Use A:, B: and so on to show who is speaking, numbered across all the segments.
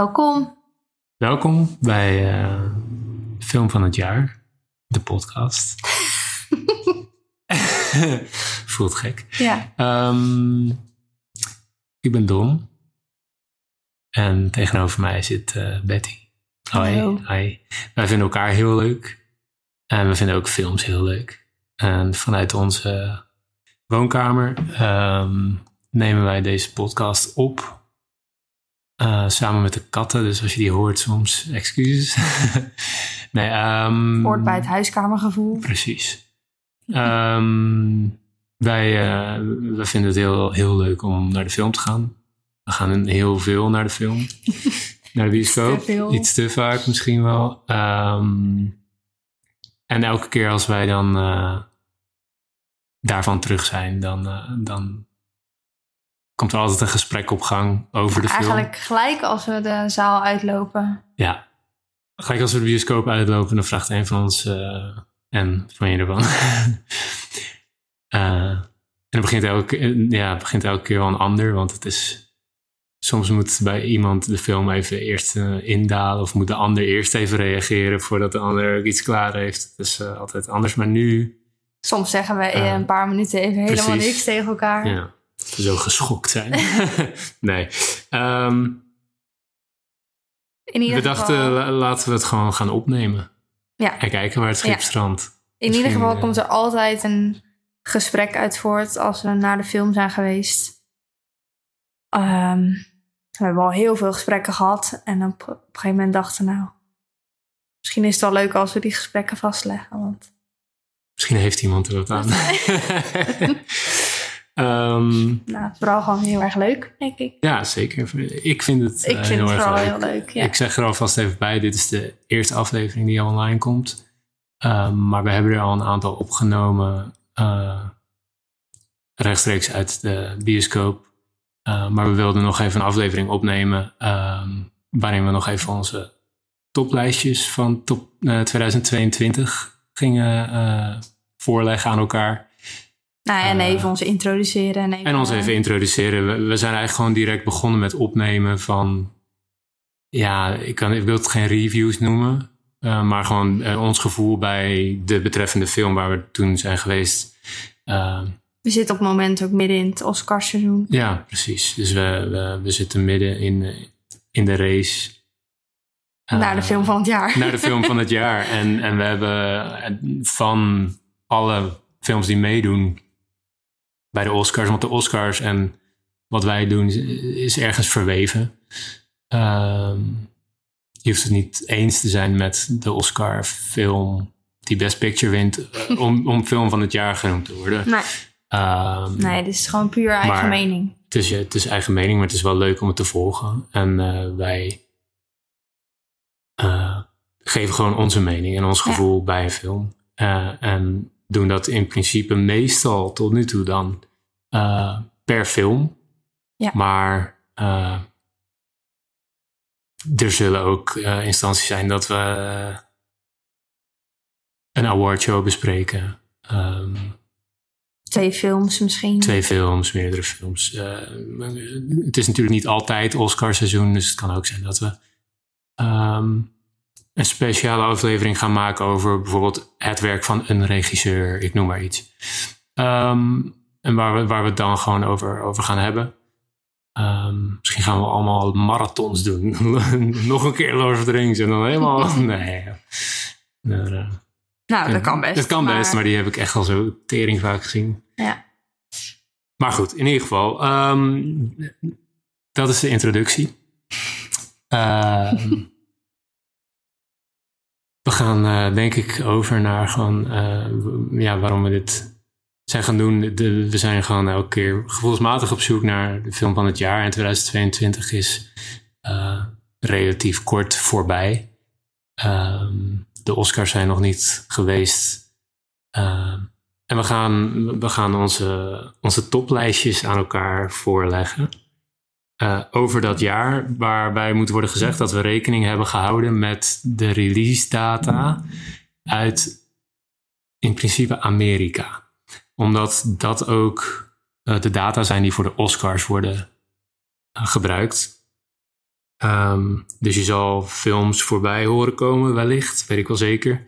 A: Welkom.
B: Welkom bij eh, de film van het jaar, de podcast. Voelt gek.
A: Ja.
B: Ehm, ik ben Don. En tegenover mij zit eh, Betty. Hoi,
A: Hallo.
B: hoi. Wij vinden elkaar heel leuk. En we vinden ook films heel leuk. En vanuit onze woonkamer ehm, nemen wij deze podcast op. Eh, samen met de katten, dus als je die hoort soms, excuses. nee, ehm,
A: Hoort bij het huiskamergevoel.
B: Precies. Ehm, wij, eh, wij vinden het heel, heel leuk om naar de film te gaan. We gaan heel veel naar de film. naar de bioscoop.
A: Te veel.
B: Iets te vaak misschien wel. Ehm, en elke keer als wij dan eh, daarvan terug zijn, dan, eh, dan komt er altijd een gesprek op gang over de film.
A: Eigenlijk gelijk als we de zaal uitlopen.
B: Ja. Gelijk als we de bioscoop uitlopen, dan vraagt een van ons... eh, en, wat vond je ervan? Eh, en het begint, elke, eh, ja, het begint elke keer wel een ander, want het is... Soms moet bij iemand de film even eerst eh, indalen... of moet de ander eerst even reageren voordat de ander ook iets klaar heeft. Het is eh, altijd anders, maar nu...
A: Soms zeggen we in
B: Eh,
A: een paar minuten even helemaal
B: precies.
A: niks tegen elkaar.
B: Ja, dat we zo geschokt zijn. nee. Ehm,
A: In
B: we
A: ieder
B: dachten, eh,
A: geval,
B: la- laten we het gewoon gaan opnemen.
A: Ja.
B: En kijken waar het schip
A: Ja.
B: strandt.
A: in ieder
B: misschien,
A: geval
B: eh,
A: komt er altijd een gesprek uit voort als we naar de film zijn geweest. Ehm, we hebben al heel veel gesprekken gehad. En dan op, op een gegeven moment dachten we nou... Misschien is het wel leuk als we die gesprekken vastleggen. Want
B: Misschien heeft iemand er wat aan. Ehm,
A: nou, vooral gewoon heel erg leuk, denk ik.
B: ja, zeker. Ik vind het, eh,
A: Ik vind
B: heel
A: het
B: erg
A: vooral
B: leuk.
A: heel leuk. Ja.
B: Ik zeg er alvast even bij, dit is de eerste aflevering die online komt. Ehm, maar we hebben er al een aantal opgenomen eh, rechtstreeks uit de bioscoop. Eh, maar we wilden nog even een aflevering opnemen ehm, waarin we nog even onze toplijstjes van top, eh, 2022 gingen eh, voorleggen aan elkaar.
A: Nou, en
B: Eh,
A: even ons introduceren. En, even, eh,
B: En ons even introduceren. We, we zijn eigenlijk gewoon direct begonnen met opnemen van. Ja, ik, kan, ik wil het geen reviews noemen. eh, maar gewoon eh, ons gevoel bij de betreffende film waar we toen zijn geweest. Eh,
A: We zitten op het moment ook midden in het Oscarseizoen.
B: ja, precies. Dus we, we, we zitten midden in, eh, in de race. Eh,
A: naar de film van het jaar.
B: naar de film van het jaar. En, en we hebben eh, van alle films die meedoen bij de Oscars, want de Oscars en wat wij doen is, is ergens verweven. Ehm, je hoeft het niet eens te zijn met de Oscar-film die Best Picture wint eh, om, om film van het jaar genoemd te worden.
A: Nee,
B: Ehm,
A: nee, dit is gewoon puur eigen
B: Maar-
A: mening.
B: het is, het is eigen mening, maar het is wel leuk om het te volgen. En eh, wij eh, geven gewoon onze mening en ons
A: Ja.
B: gevoel bij een film. Eh, en doen dat in principe meestal tot nu toe dan eh, per film.
A: Ja.
B: Maar eh, er zullen ook eh, instanties zijn dat we eh, een awardshow bespreken. Ehm,
A: Twee films misschien.
B: twee films, meerdere films. Eh, het is natuurlijk niet altijd Oscarseizoen, dus het kan ook zijn dat we ehm, een speciale aflevering gaan maken over bijvoorbeeld het werk van een regisseur, ik noem maar iets. Ehm, en waar we, waar we het dan gewoon over, over gaan hebben. Ehm, misschien gaan we allemaal marathons doen. Nog een keer Lord of the Rings en dan helemaal. Nee. Maar, eh,
A: Nou, dat kan best.
B: dat kan best, maar die heb ik echt al zo tering vaak gezien.
A: Ja.
B: Maar goed, in ieder geval, ehm, dat is de introductie. Ehm, we gaan eh, denk ik over naar gewoon eh, w- ja, waarom we dit zijn gaan doen. De- we zijn gewoon elke keer gevoelsmatig op zoek naar de film van het jaar. En 2022 is eh, relatief kort voorbij. Ehm, de Oscars zijn nog niet geweest. Ehm, en we gaan, we gaan onze, onze toplijstjes aan elkaar voorleggen. eh, over dat jaar, waarbij moet worden gezegd dat we rekening hebben gehouden met de release data uit in principe Amerika. Omdat dat ook eh, de data zijn die voor de Oscars worden eh, gebruikt. Ehm, dus je zal films voorbij horen komen, wellicht, weet ik wel zeker.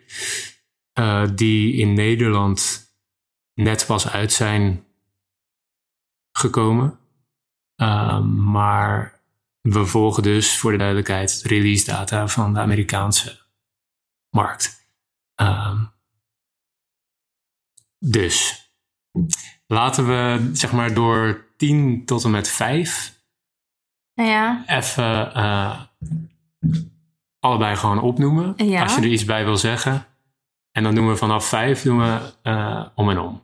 B: eh, die in Nederland net pas uit zijn gekomen. Ehm, maar we volgen dus voor de duidelijkheid release data van de Amerikaanse markt. Ehm, dus laten we zeg maar door 10 tot en met 5
A: Nou Ja,
B: even eh, allebei gewoon opnoemen.
A: Ja.
B: Als je er iets bij wil zeggen. En dan doen we vanaf vijf doen we, eh, om en om.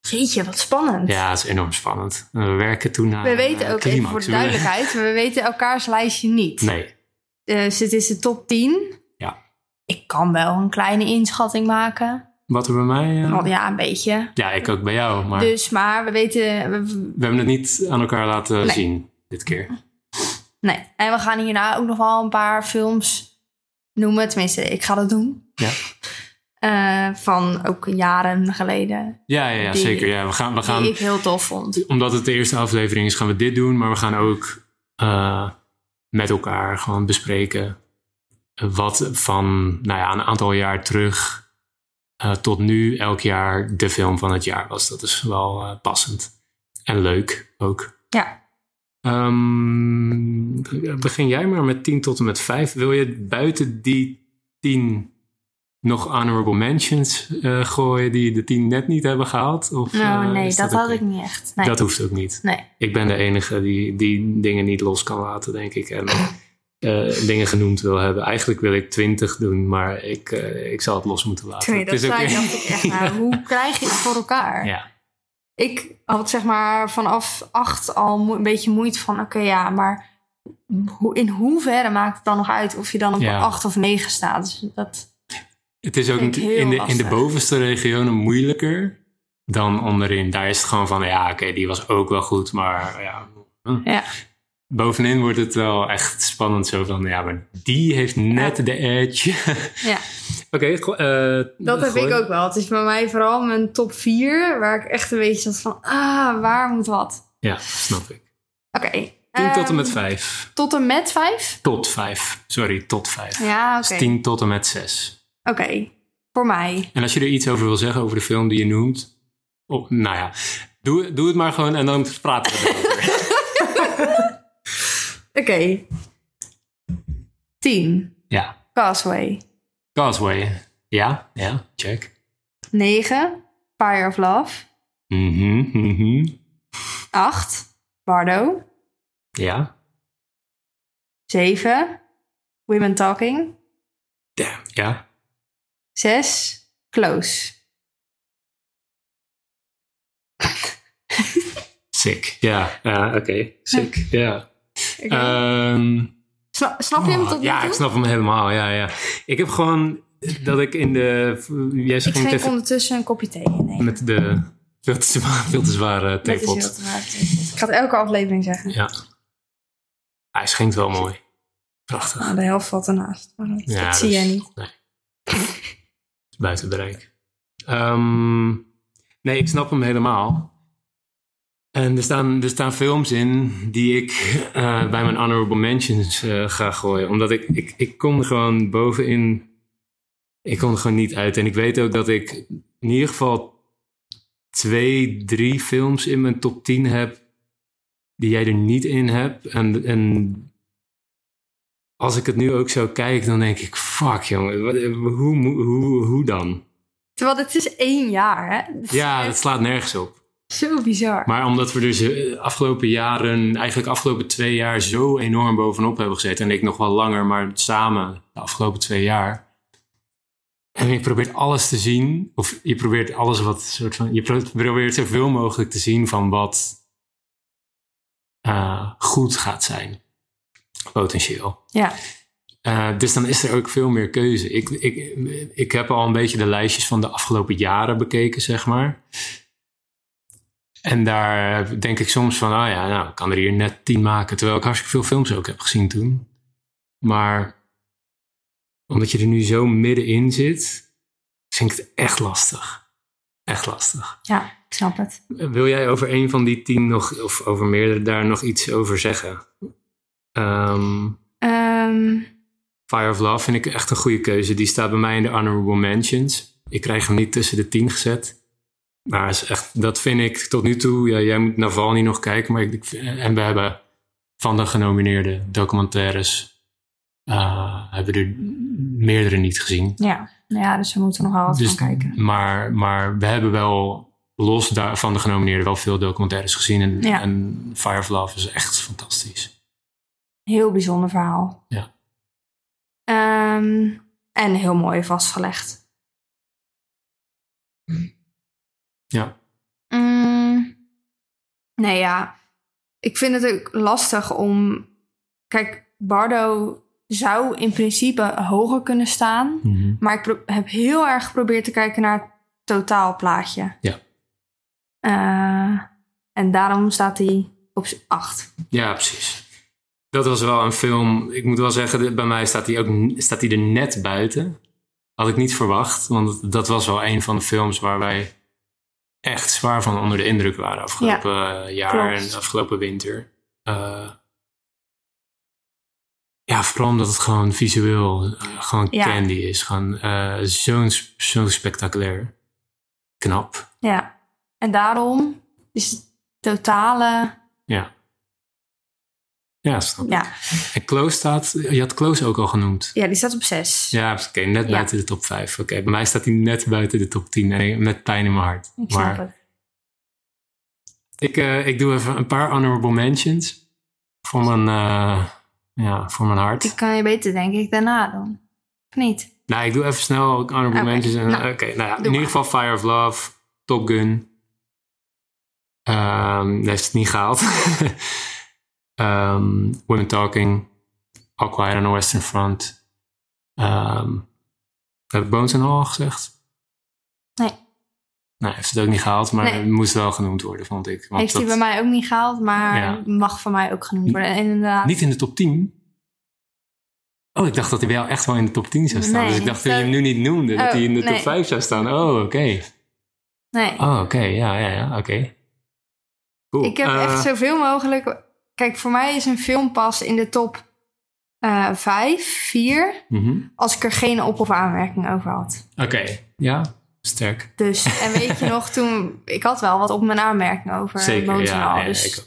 A: jeetje, wat spannend.
B: Ja, dat is enorm spannend. En We werken toen naar
A: We weten
B: eh,
A: ook, even voor
B: climax.
A: de duidelijkheid, we weten elkaars lijstje niet.
B: Nee,
A: Dus het is de top 10.
B: Ja.
A: Ik kan wel een kleine inschatting maken.
B: wat er bij mij... eh,
A: Want ja, een beetje.
B: ja, ik ook bij jou. Maar
A: Dus, maar we weten... we-
B: we hebben het niet aan elkaar laten
A: Nee.
B: zien dit keer.
A: nee. En we gaan hierna ook nog wel een paar films noemen. Tenminste, ik ga dat doen.
B: Ja.
A: Eh, van ook jaren geleden.
B: Ja, ja, ja
A: Die-
B: zeker. Ja, we gaan, we gaan,
A: Die ik heel tof vond.
B: Omdat het de eerste aflevering is, gaan we dit doen. Maar we gaan ook eh, met elkaar gewoon bespreken wat van nou ja, een aantal jaar terug eh, tot nu elk jaar de film van het jaar was. Dat is wel eh, passend. En leuk ook.
A: Ja.
B: Ehm, begin jij maar met 10 tot en met 5. Wil je buiten die 10 nog honorable mentions eh, gooien die de 10 net niet hebben gehaald? Of,
A: Nou,
B: eh,
A: nee,
B: is
A: dat, had
B: oké?
A: ik niet echt. Nee.
B: Dat hoeft ook niet.
A: nee.
B: Ik ben de enige die, die dingen niet los kan laten, denk ik. En eh, dingen genoemd wil hebben. Eigenlijk wil ik twintig doen, maar ik, eh, ik zal het los moeten laten.
A: Toen je dat
B: Het is
A: zei,
B: oké.
A: dacht ik echt, nou, hoe krijg je het voor elkaar?
B: Ja,
A: ik had zeg maar vanaf acht al mo- een beetje moeite van... oké, ja, maar ho- in hoeverre maakt het dan nog uit... of je dan op
B: Ja.
A: acht of negen staat? Dus dat,
B: het is ook
A: Vind ik heel
B: in de, in de
A: lastig.
B: bovenste regionen moeilijker dan onderin. Daar is het gewoon van, ja, oké, die was ook wel goed, maar ja. hm.
A: Ja.
B: Bovenin wordt het wel echt spannend zo van, ja, maar die heeft net de edge.
A: ja,
B: oké, go- eh,
A: dat heb
B: gooi.
A: ik ook wel. Het is bij mij vooral mijn top vier... waar ik echt een beetje zat van... ah, waar moet wat?
B: Ja, snap ik.
A: Oké.
B: 10 tot en
A: ehm,
B: met 5.
A: Tot en met vijf?
B: Tot vijf. Sorry, tot vijf.
A: Ja, oké.
B: Dus tien tot en met zes.
A: Oké, voor mij.
B: En als je er iets over wil zeggen, over de film die je noemt. Oh, nou ja, doe, doe het maar gewoon en dan praten we erover.
A: Oké. Tien.
B: ja.
A: Causeway.
B: Causeway. Ja, ja, check.
A: Negen. Fire of Love.
B: Mhm, mhm.
A: Acht. Bardo.
B: Ja.
A: 7. Women Talking.
B: Damn. Ja.
A: 6. Close.
B: Sick. Ja, ja, oké. Sick. Ja.
A: Oké.
B: Ehm,
A: Sna- snap je hem
B: oh,
A: tot nu
B: ja,
A: toe?
B: ik snap hem helemaal. Ja, ja. Ik heb gewoon dat ik in de. Jij
A: Ik
B: ging
A: schenk
B: het even
A: ondertussen een kopje thee in. Nee,
B: met de veel te, zwa- veel te zware
A: dat is heel
B: theepot.
A: te maken. Ik ga het elke aflevering zeggen.
B: Ja. Hij schenkt wel mooi. Prachtig.
A: Nou, de helft valt ernaast. Maar dat,
B: Ja,
A: dat zie
B: dus-
A: jij niet.
B: Nee. Is Buiten bereik. Ehm, nee, ik snap hem helemaal. En er staan, er staan films in die ik eh, bij mijn honorable mentions eh, ga gooien. Omdat ik, ik, ik kom er gewoon bovenin... Ik kom er gewoon niet uit. En ik weet ook dat ik in ieder geval twee, drie films in mijn top 10 heb... die jij er niet in hebt. En, en als ik het nu ook zo kijk, dan denk ik, fuck jongen, wat- hoe, hoe, hoe, hoe dan?
A: Terwijl het is één jaar, hè? Het is
B: Ja,
A: echt
B: dat slaat nergens op.
A: Zo bizar.
B: Maar omdat we dus eh, afgelopen jaren, eigenlijk afgelopen twee jaar, zo enorm bovenop hebben gezeten. En ik nog wel langer, maar samen de afgelopen twee jaar. En je probeert alles te zien, of je probeert alles wat soort van. Je pro- probeert zoveel mogelijk te zien van wat eh, goed gaat zijn, potentieel.
A: Ja.
B: Eh, dus dan is er ook veel meer keuze. Ik, ik, ik heb al een beetje de lijstjes van de afgelopen jaren bekeken, zeg maar. En daar denk ik soms van, ah ja, nou, ik kan er hier net tien maken. Terwijl ik hartstikke veel films ook heb gezien toen. Maar omdat je er nu zo middenin zit, vind ik het echt lastig. Echt lastig.
A: ja, ik snap het.
B: Wil jij over een van die tien nog, of over meerdere, daar nog iets over zeggen? Ehm,
A: Eh, Ehm,
B: Fire of Love vind ik echt een goede keuze. Die staat bij mij in de Honorable Mentions. Ik krijg hem niet tussen de tien gezet. Maar is echt, dat vind ik tot nu toe. Ja, jij moet Naval niet nog kijken. Maar ik, ik- en we hebben van de genomineerde documentaires. eh, hebben we er meerdere niet gezien.
A: ja. ja, dus we moeten nog wel wat
B: Dus-
A: gaan kijken.
B: Maar, maar we hebben wel los daar, van de genomineerden wel veel documentaires gezien. En,
A: Ja.
B: en Fire of Love is echt fantastisch.
A: Heel bijzonder verhaal.
B: Ja.
A: Ehm, en heel mooi vastgelegd.
B: Ja.
A: Mm, nee, ja. Ik vind het ook lastig om... Kijk, Bardo zou in principe hoger kunnen staan. Maar ik pro- heb heel erg geprobeerd te kijken naar het totaalplaatje.
B: Ja.
A: Eh, en daarom staat hij op 8.
B: Ja, precies. Dat was wel een film. Ik moet wel zeggen, dit- bij mij staat die, ook, n- staat die er net buiten. Had ik niet verwacht, want dat was wel een van de films waar wij echt zwaar van onder de indruk waren afgelopen eh, jaar
A: klopt.
B: en afgelopen winter. Eh, ja, vooral omdat het gewoon visueel eh, gewoon
A: Ja.
B: candy is. Gewoon eh, zo'n sp- zo spectaculair. Knap.
A: Ja. En daarom is het totale.
B: Ja. Ja, snap.
A: Ja,
B: En Close staat, je had Close ook al genoemd.
A: ja die staat op 6.
B: Ja, oké, net
A: Ja.
B: buiten de top 5. Oké, bij mij staat hij net buiten de top 10. Nee, met pijn in mijn hart.
A: Ik snap
B: maar
A: het.
B: Ik, eh, ik doe even een paar honorable mentions voor mijn, eh, ja, voor mijn hart.
A: Die kan je beter, denk ik, daarna dan. Of niet?
B: Nou, ik doe even snel ook honorable
A: Oké,
B: mentions. en- Oké,
A: nou,
B: nou ja, in
A: maar.
B: ieder geval Fire of Love, Top Gun. Ehm, dat heeft het niet gehaald. Ehm, Women Talking, All Quiet on the Western Front. Ehm, heb ik Bones and All al gezegd?
A: Nee.
B: Nou, heeft het ook niet gehaald, maar
A: Nee.
B: het moest wel genoemd worden, vond ik. Want
A: Heeft hij
B: dat-
A: bij mij ook niet gehaald, maar
B: Ja.
A: mag van mij ook genoemd worden. En inderdaad.
B: Niet in de top 10. Oh, ik dacht dat hij wel echt wel in de top 10 zou staan.
A: Nee,
B: dus ik dacht dat
A: dat-
B: je hem nu niet noemde. dat
A: Oh,
B: hij in de top
A: nee.
B: 5 zou staan. Oh, oké.
A: Nee.
B: Oh, oké. Ja, ja, ja. Oké. Cool.
A: Ik heb
B: Eh,
A: echt zoveel mogelijk. Kijk, voor mij is een film pas in de top eh, 5, 4.
B: mhm.
A: als ik er geen op- of aanmerking over had.
B: Oké. Ja, sterk.
A: Dus, en weet je nog, toen... Ik had wel wat op mijn aanmerking over.
B: Zeker.
A: Bones en
B: Ja,
A: al,
B: ja,
A: dus
B: ik ook.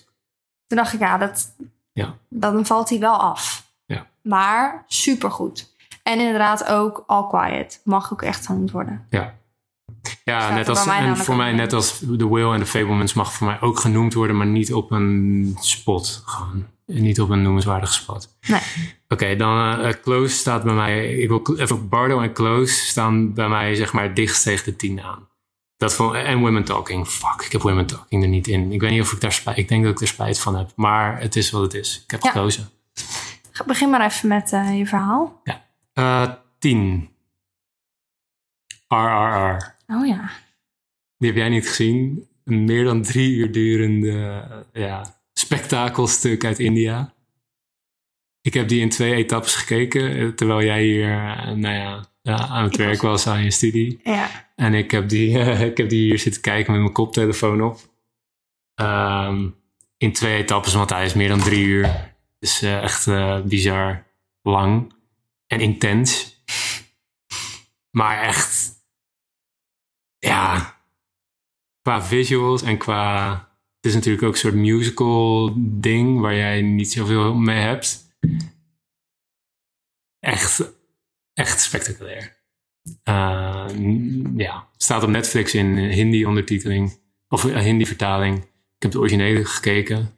A: toen dacht ik, ja, dat,
B: Ja.
A: dan valt hij wel af.
B: Ja.
A: Maar supergoed. En inderdaad ook All Quiet. Mag ook echt genoemd worden.
B: Ja.
A: Staat
B: Ja,
A: er
B: net
A: bij
B: als,
A: mij
B: en
A: namelijk
B: voor
A: ook
B: mij
A: in.
B: net als The Will en The Fablemans mag voor mij ook genoemd worden, maar niet op een spot. Gewoon. En Niet op een noemenswaardige spot.
A: Nee.
B: Oké, dan eh, eh, Close staat bij mij. Ik wil cl- even Bardo en Close staan bij mij zeg maar dichtst tegen de 10 aan. Dat vond, en Women Talking. Fuck, ik heb Women Talking er niet in. Ik weet niet of ik daar spijt. Ik denk dat ik er spijt van heb. Maar het is wat het is. Ik heb
A: Ja.
B: gekozen.
A: Ga- Begin maar even met eh, je verhaal.
B: Eh 10. RRR.
A: Oh ja.
B: Die heb jij niet gezien. Een meer dan drie uur durende eh, ja, spektakelstuk uit India. Ik heb die in twee etappes gekeken, eh, terwijl jij hier eh, nou ja, ja, aan het
A: Ik
B: werk
A: was-
B: was aan je studie.
A: Ja.
B: En ik heb die, eh, ik heb die hier zitten kijken met mijn koptelefoon op. Ehm, in twee etappes, want hij is meer dan drie uur. Dus eh, echt eh, bizar lang en intens. Maar echt, ja, qua visuals en qua... Het is natuurlijk ook een soort musical ding waar jij niet zoveel mee hebt. Echt, echt spectaculair. Eh, n- ja, staat op Netflix in Hindi-ondertiteling. Of eh, Hindi-vertaling. Ik heb de originele gekeken.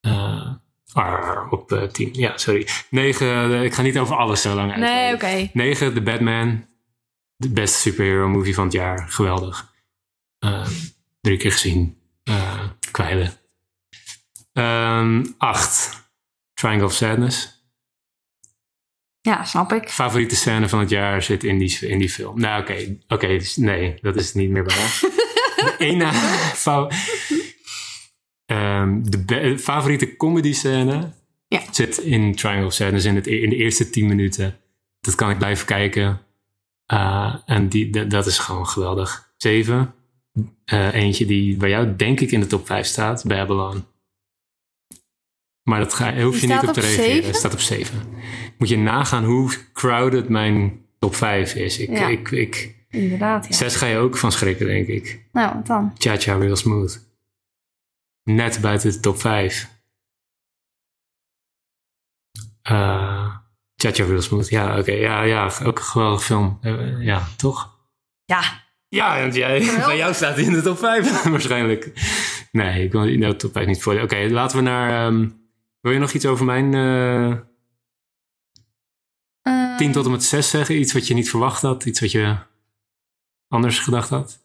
B: Eh, arr, op eh, 10. Ja, sorry. 9, ik ga niet over alles zo lang uit.
A: Nee, oké.
B: 9, The Batman. De beste superhero movie van het jaar. Geweldig. Eh, drie keer gezien. Eh kwijlen. 8. Triangle of Sadness
A: Ja, snap ik.
B: favoriete scène van het jaar zit in die, in die film. Nou, oké. Oké, dus nee, dat is niet meer bij mij. De ene fa- Ehm, de be- favoriete comedy scène
A: Ja.
B: zit in Triangle of Sadness in, het, e- in de eerste 10 minuten. Dat kan ik blijven kijken. Eh, en die, dat- dat is gewoon geweldig. Zeven. Eh, eentje die bij jou denk ik in de top 5 staat, Babylon. Maar dat ga, hoef je
A: Die
B: niet
A: staat
B: op te
A: op
B: reageren.
A: zeven?
B: Het staat op 7. Moet je nagaan hoe crowded mijn top 5 is. Ik,
A: Ja.
B: ik, ik,
A: Inderdaad, ja.
B: 6 ga je ook van schrikken, denk ik.
A: Nou, wat dan?
B: Cha Cha Real Smooth. Net buiten de top 5. Eh Cha Cha Real Smooth, ja, oké. Ja, ja, ook een geweldige film. Eh, ja, toch?
A: Ja,
B: Ja, want jij,
A: Geweldig.
B: bij jou staat hij in de top 5 waarschijnlijk. Nee, ik wil in de top 5 niet voor. Oké, laten we naar... ehm, wil je nog iets over mijn eh
A: Ehm,
B: 10 tot en met 6 zeggen? Iets wat je niet verwacht had? Iets wat je anders gedacht had?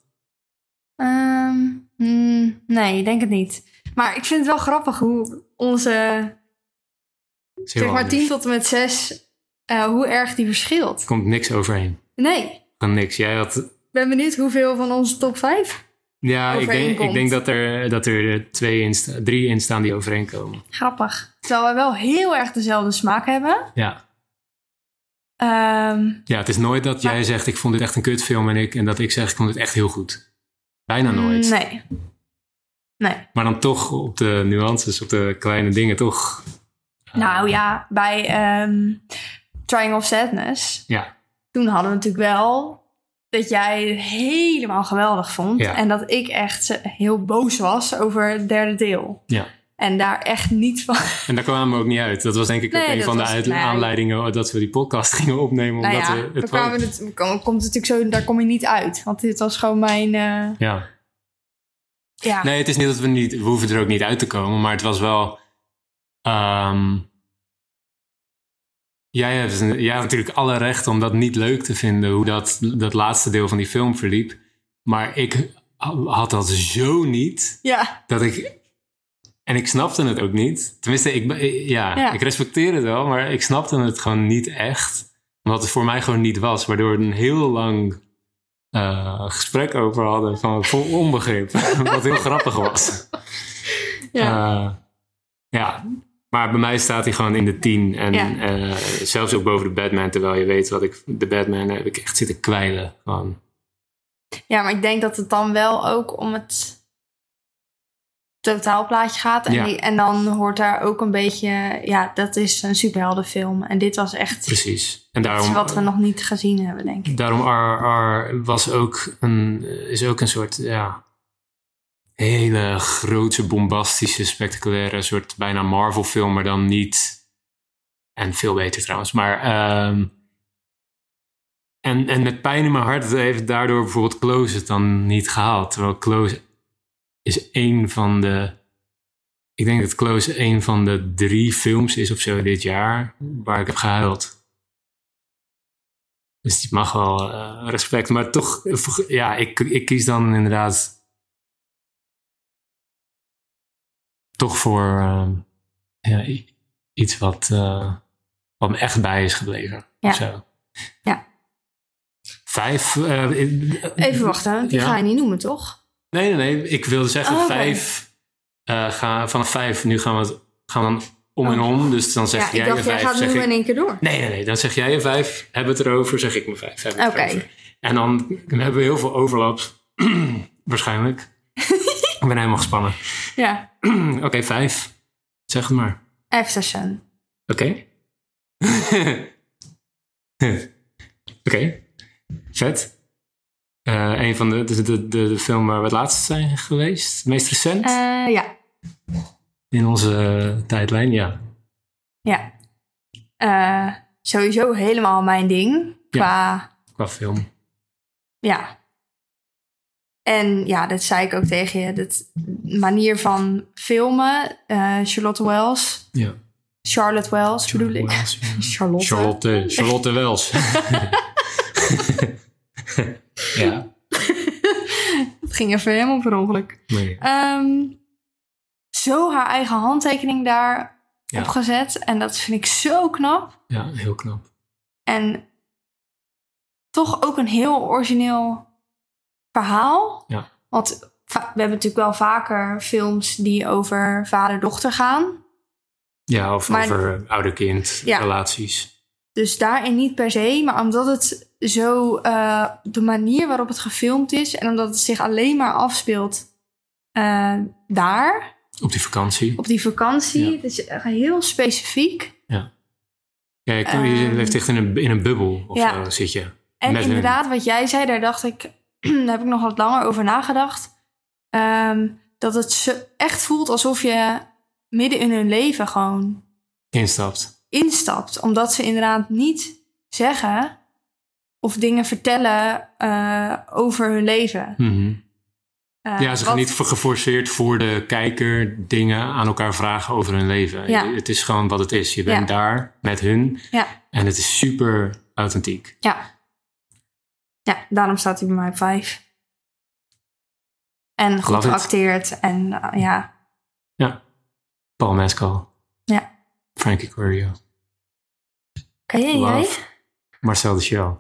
A: Ehm, mm, nee, ik denk het niet. Maar ik vind het wel grappig hoe onze,
B: Is heel
A: zeg maar
B: anders.
A: 10 tot en met 6, eh, hoe erg die verschilt.
B: Er komt niks overheen.
A: Nee, ik
B: Van niks. Jij had
A: ben benieuwd hoeveel van onze top 5.
B: Ja, ik denk, ik
A: overeenkomt.
B: denk dat er, dat er eh, twee in sta- drie in staan die overeenkomen.
A: Grappig. Terwijl wij wel heel erg dezelfde smaak hebben.
B: Ja.
A: Ehm,
B: ja, het is nooit dat jij
A: Maar-
B: zegt ik vond dit echt een kutfilm en, ik, en dat ik zeg ik vond het echt heel goed. Bijna Nou, nooit.
A: Nee. Nee.
B: Maar dan toch op de nuances, op de kleine dingen toch.
A: Nou ja, bij ehm Triangle of Sadness,
B: Ja,
A: toen hadden we natuurlijk wel dat jij het helemaal geweldig vond.
B: Ja.
A: En dat ik echt eh, heel boos was over het derde deel.
B: ja.
A: En daar echt niet van.
B: En daar kwamen we ook niet uit. Dat was denk ik ook
A: Nee,
B: een
A: dat
B: van de
A: was-
B: uit-
A: nee.
B: aanleidingen dat we die podcast gingen opnemen. Omdat
A: nou ja,
B: we
A: daar
B: het
A: kwamen we het, kom- komt het natuurlijk zo, daar kom je niet uit. Want dit was gewoon mijn. eh,
B: Ja.
A: ja.
B: Nee, het is niet dat we niet... We hoeven er ook niet uit te komen, maar het was wel... ehm, jij, hebt, een- jij had natuurlijk alle recht om dat niet leuk te vinden... hoe dat, dat laatste deel van die film verliep. Maar ik had dat zo niet
A: Ja,
B: dat ik... En ik snapte het ook niet. Tenminste, ik, ben- eh, ja,
A: Ja.
B: ik respecteer het wel, maar ik snapte het gewoon niet echt. Omdat het voor mij gewoon niet was. Waardoor we een heel lang eh, gesprek over hadden van vol onbegrip. wat heel grappig was.
A: ja.
B: Eh, ja, maar bij mij staat hij gewoon in de 10. En
A: Ja.
B: eh, zelfs ook boven de Batman, terwijl je weet wat ik. De Batman heb ik echt zitten kwijlen. Gewoon.
A: ja, maar ik denk dat het dan wel ook om het totaalplaatje gaat. En,
B: Ja.
A: die- en dan hoort daar ook een beetje. Ja, dat is een superheldenfilm. En dit was echt
B: Precies. En
A: iets
B: daarom,
A: wat we nog niet gezien hebben, denk ik.
B: daarom RRR was ook een, is ook een soort. Ja, hele grote, bombastische, spectaculaire soort bijna Marvel-film, maar dan niet. En veel beter trouwens. Maar. ehm, en, en met pijn in mijn hart heeft daardoor bijvoorbeeld Close het dan niet gehaald. Terwijl Close is één van de. Ik denk dat Close één van de drie films is of zo dit jaar waar ik heb gehuild. Dus die mag wel eh, respect. Maar toch, eh, ja, ik, ik kies dan inderdaad toch voor ehm, ja, i- iets wat, eh, wat me echt bij is gebleven.
A: Ja.
B: of zo.
A: Ja.
B: Vijf. eh, in-
A: Even wachten, want die
B: Ja.
A: ga je niet noemen, toch?
B: Nee, nee, nee. Ik wilde zeggen
A: Oh, oké.
B: vijf. eh ga, vanaf vijf. Nu gaan we, het, gaan we om en
A: Oh.
B: om. Dus dan zeg
A: Ja,
B: jij
A: ik dacht,
B: je
A: jij
B: vijf.
A: gaat
B: Zeg
A: noemen
B: ik,
A: in één keer door.
B: nee, nee, nee. Dan zeg jij je vijf. Hebben het erover. Zeg ik mijn vijf. Hebben het
A: Oké.
B: erover. En dan hebben we heel veel overlaps. Waarschijnlijk. ik ben helemaal gespannen.
A: Ja,
B: Oké, vijf. Zeg het maar.
A: F-session.
B: Oké. Oké. Vet. Eh, een van de, de, de, de film waar we het laatst zijn geweest. Het meest recent.
A: Eh, ja,
B: In onze eh, tijdlijn, ja.
A: ja. Eh, sowieso helemaal mijn ding. Qua,
B: Qua film.
A: ja. En ja, dat zei ik ook tegen je. Dat manier van filmen. eh, Charlotte Wells.
B: Ja.
A: Charlotte Wells bedoel ik. Charlotte.
B: Charlotte, Charlotte Wels. ja.
A: Het ging even helemaal per ongeluk.
B: Nee.
A: Ehm, zo haar eigen handtekening daar
B: Ja.
A: opgezet. En dat vind ik zo knap.
B: ja, heel knap.
A: En toch ook een heel origineel verhaal.
B: Ja.
A: Want va- we hebben natuurlijk wel vaker films die over vader-dochter gaan.
B: Ja, of
A: Maar-
B: over ouder-kind
A: Ja.
B: relaties.
A: Dus daarin niet per se, maar omdat het zo eh, de manier waarop het gefilmd is en omdat het zich alleen maar afspeelt eh, daar,
B: Op die vakantie.
A: Op die vakantie.
B: Ja.
A: Dus eh, heel specifiek.
B: Kijk, je
A: Ehm.
B: leeft echt in een, in een bubbel of
A: Ja.
B: zo zit je.
A: En
B: Met hun.
A: inderdaad, wat jij zei, daar dacht ik, daar heb ik nog wat langer over nagedacht. Ehm, dat het zo- echt voelt alsof je midden in hun leven gewoon
B: Instapt.
A: instapt. Omdat ze inderdaad niet zeggen of dingen vertellen eh, over hun leven.
B: Mhm.
A: Eh,
B: Ja, ze gaan
A: wat-
B: niet geforceerd voor de kijker dingen aan elkaar vragen over hun leven.
A: Ja.
B: Je- Het is gewoon wat het is. Je bent daar met hun
A: Ja.
B: en het is super authentiek.
A: Ja. Ja, daarom staat hij bij mij op vijf. En goed
B: Love it.
A: geacteerd. En eh, ja,
B: Paul Mescal.
A: Ja.
B: Frankie Corio.
A: kan jij? jij?
B: Love. Marcel de Shell.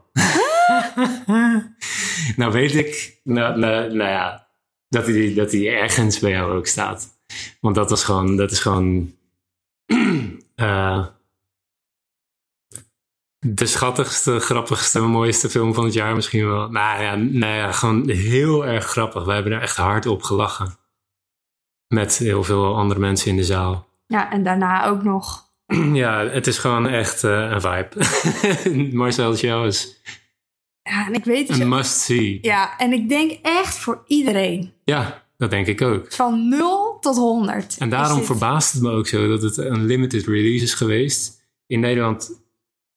B: nou weet ik, nou, nou, nou ja, dat hij, dat hij ergens bij jou ook staat. Want dat, was gewoon, dat is gewoon eh, de schattigste, grappigste, mooiste film van het jaar misschien wel. Nou ja, nou ja, gewoon heel erg grappig. We hebben er echt hard op gelachen. Met heel veel andere mensen in de zaal.
A: Ja, en daarna ook nog.
B: Ja, het is gewoon echt eh, een vibe. Marcel Show is
A: Ja, en ik weet het.
B: een must-see.
A: Ja, en ik denk echt voor iedereen.
B: Ja, dat denk ik ook.
A: Van 0 tot 100.
B: En daarom
A: is dit-
B: verbaast het me ook zo dat het een limited release is geweest. In Nederland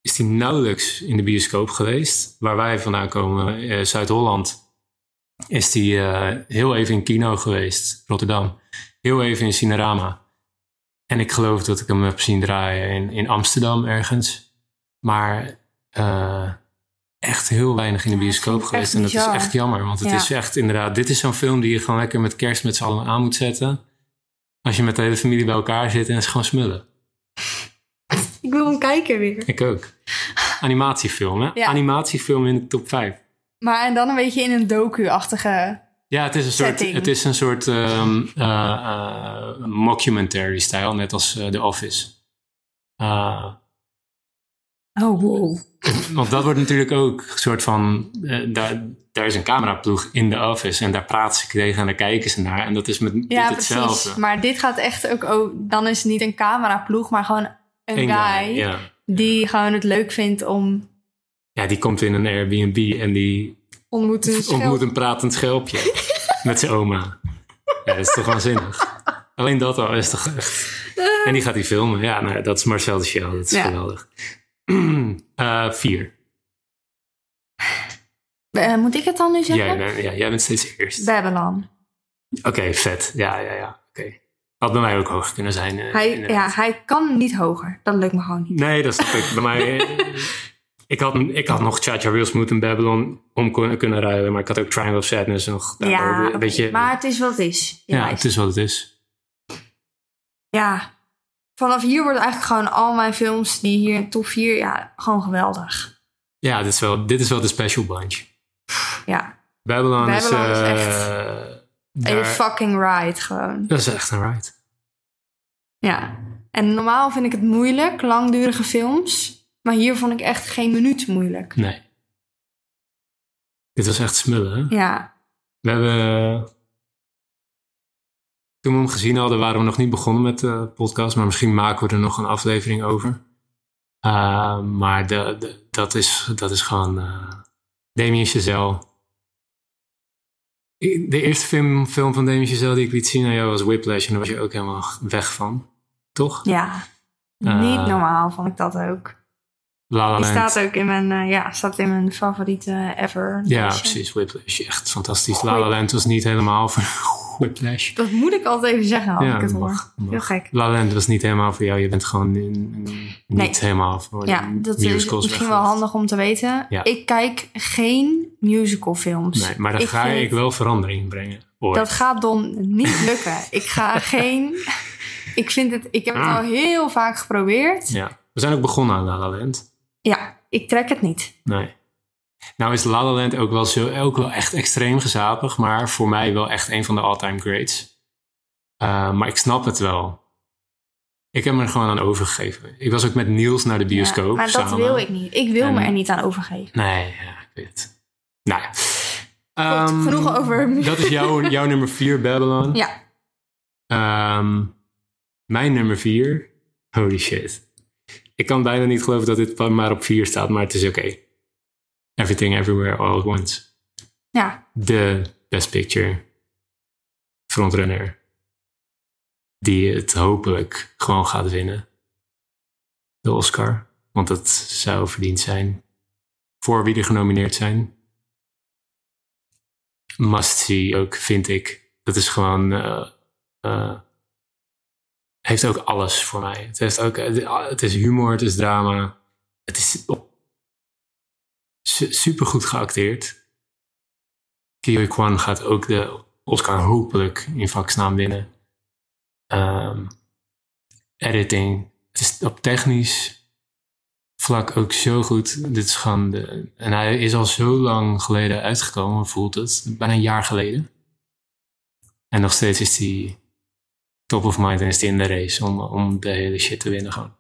B: is die nauwelijks in de bioscoop geweest. Waar wij vandaan komen, eh, Zuid-Holland, is die eh, heel even in kino geweest, Rotterdam. Heel even in Cinerama. En ik geloof dat ik hem heb zien draaien in, in Amsterdam ergens. Maar eh, echt heel weinig in de bioscoop
A: vind ik
B: geweest.
A: echt
B: En dat
A: bizar.
B: is echt jammer, want het
A: Ja.
B: is echt inderdaad... Dit is zo'n film die je gewoon lekker met kerst met z'n allen aan moet zetten. Als je met de hele familie bij elkaar zit en het is gewoon smullen.
A: Ik wil hem kijken weer.
B: Ik ook. Animatiefilm, hè?
A: Ja.
B: Animatiefilm in de top 5.
A: Maar en dan een beetje in een docu-achtige...
B: Ja, het is een soort,
A: Setting.
B: het is een soort ehm, eh, eh, mockumentary stijl, net als eh, The Office. Eh,
A: Oh, wow.
B: want dat wordt natuurlijk ook een soort van... eh, daar, daar is een cameraploeg in The Office en daar praten ze tegen en daar kijken ze naar. En dat is met dit
A: Ja,
B: hetzelfde.
A: precies. Maar dit gaat echt ook... Oh, dan is het niet een cameraploeg, maar gewoon een
B: Eén
A: guy...
B: ja.
A: die gewoon het leuk vindt om
B: ja, die komt in een Airbnb en die
A: ontmoeten te
B: ontmoet een pratend schelpje met zijn oma. Ja, dat is toch waanzinnig. Alleen dat al is toch echt. En die gaat die filmen. Ja, nou, dat is Marcel de Shell. Dat is
A: Eh. Ja.
B: geweldig. Eh, vier.
A: Eh, moet ik het dan nu zeggen?
B: Jij bent, ja, jij bent steeds eerst.
A: Babylon.
B: Oké, vet. Ja, ja, ja. Oké. Had bij mij ook hoog kunnen zijn. eh,
A: Hij, ja,
B: inderdaad.
A: hij kan niet hoger. Dat lukt me gewoon niet.
B: Nee, dat snap ik. Bij mij... eh, Ik had, ik had nog Cha Cha Reels moeten in Babylon om kon- kunnen ruilen. Maar ik had ook Triangle of Sadness nog.
A: Ja,
B: daarboven.
A: oké.
B: Weet je-
A: maar het is wat het is.
B: ja,
A: het
B: het is wat het is.
A: ja. Vanaf hier worden eigenlijk gewoon al mijn films die hier in top 4... Ja, gewoon geweldig.
B: Ja, dit is wel, dit is wel de special bunch.
A: Ja.
B: Babylon, is,
A: Babylon is
B: eh,
A: echt-
B: daar-
A: Hele fucking ride gewoon.
B: dat is echt een ride.
A: Ja. En normaal vind ik het moeilijk, langdurige films. Maar hier vond ik echt geen minuut moeilijk.
B: Nee. Dit was echt smullen, hè?
A: Ja.
B: We hebben... Toen we hem gezien hadden, waren we nog niet begonnen met de podcast. Maar misschien maken we er nog een aflevering over. Eh, maar de, de- dat, is, dat is gewoon... eh Damien Chazelle. Ik- De eerste film, film van Damien Chazelle die ik liet zien aan jou was Whiplash. En daar was je ook helemaal weg van. Toch?
A: Ja.
B: Eh.
A: Niet normaal vond ik dat ook.
B: La La
A: Die
B: Land.
A: staat ook in mijn, eh, ja, staat in mijn favoriete ever.
B: Ja,
A: lijstje.
B: precies. Whiplash. Echt fantastisch. La La Land was niet helemaal voor Whiplash.
A: Dat moet ik altijd even zeggen als
B: Ja,
A: ik het
B: dat
A: hoor.
B: mag, mag.
A: Heel gek.
B: La La Land was niet helemaal voor jou. Je bent gewoon in- in- niet
A: Nee.
B: helemaal voor
A: Ja,
B: de
A: dat is
B: musicals.
A: misschien wel
B: weggelegd.
A: handig om te weten.
B: Ja.
A: Ik kijk geen musicalfilms.
B: Nee, maar daar
A: Ik
B: ga
A: vind-
B: ik wel verandering in brengen. Ooit.
A: Dat gaat Don niet lukken. ik ga geen... Ik vind het... Ik heb het
B: Ah.
A: al heel vaak geprobeerd. Ja,
B: Ja. We zijn ook begonnen aan La La Land.
A: ik trek het niet.
B: Nee. Nou is La La Land ook wel, zo, ook wel echt extreem gezapig. Maar voor mij wel echt een van de all-time greats. Eh, maar ik snap het wel. Ik heb me er gewoon aan overgegeven. Ik was ook met Niels naar de
A: Ja,
B: bioscoop
A: maar dat
B: samen.
A: wil ik niet. Ik wil
B: En-
A: me er niet aan overgeven.
B: Nee, ja, ik weet het. Nou ja.
A: Goed,
B: Ehm,
A: genoeg over-
B: Dat is jouw, jouw nummer 4, Babylon.
A: Ja,
B: Ehm, mijn nummer vier. Holy shit. Ik kan bijna niet geloven dat dit maar op vier staat, maar het is oké. Everything Everywhere All at Once.
A: Ja,
B: de Best Picture frontrunner. Die het hopelijk gewoon gaat winnen. De Oscar. Want dat zou verdiend zijn. Voor wie er genomineerd zijn. Must see ook, vind ik. Dat is gewoon... eh, eh, heeft ook alles voor mij. Het, heeft ook, het is humor, het is drama. Het is op- su- supergoed geacteerd. Kiyoy Kwan gaat ook de Oscar hopelijk in vaksnaam winnen. Ehm, editing. Het is op technisch vlak ook zo goed. Dit is gewoon de- en hij is al zo lang geleden uitgekomen, voelt het. Bijna een jaar geleden. En nog steeds is hij top of mind en is hij in de race om, om de hele shit te winnen gewoon.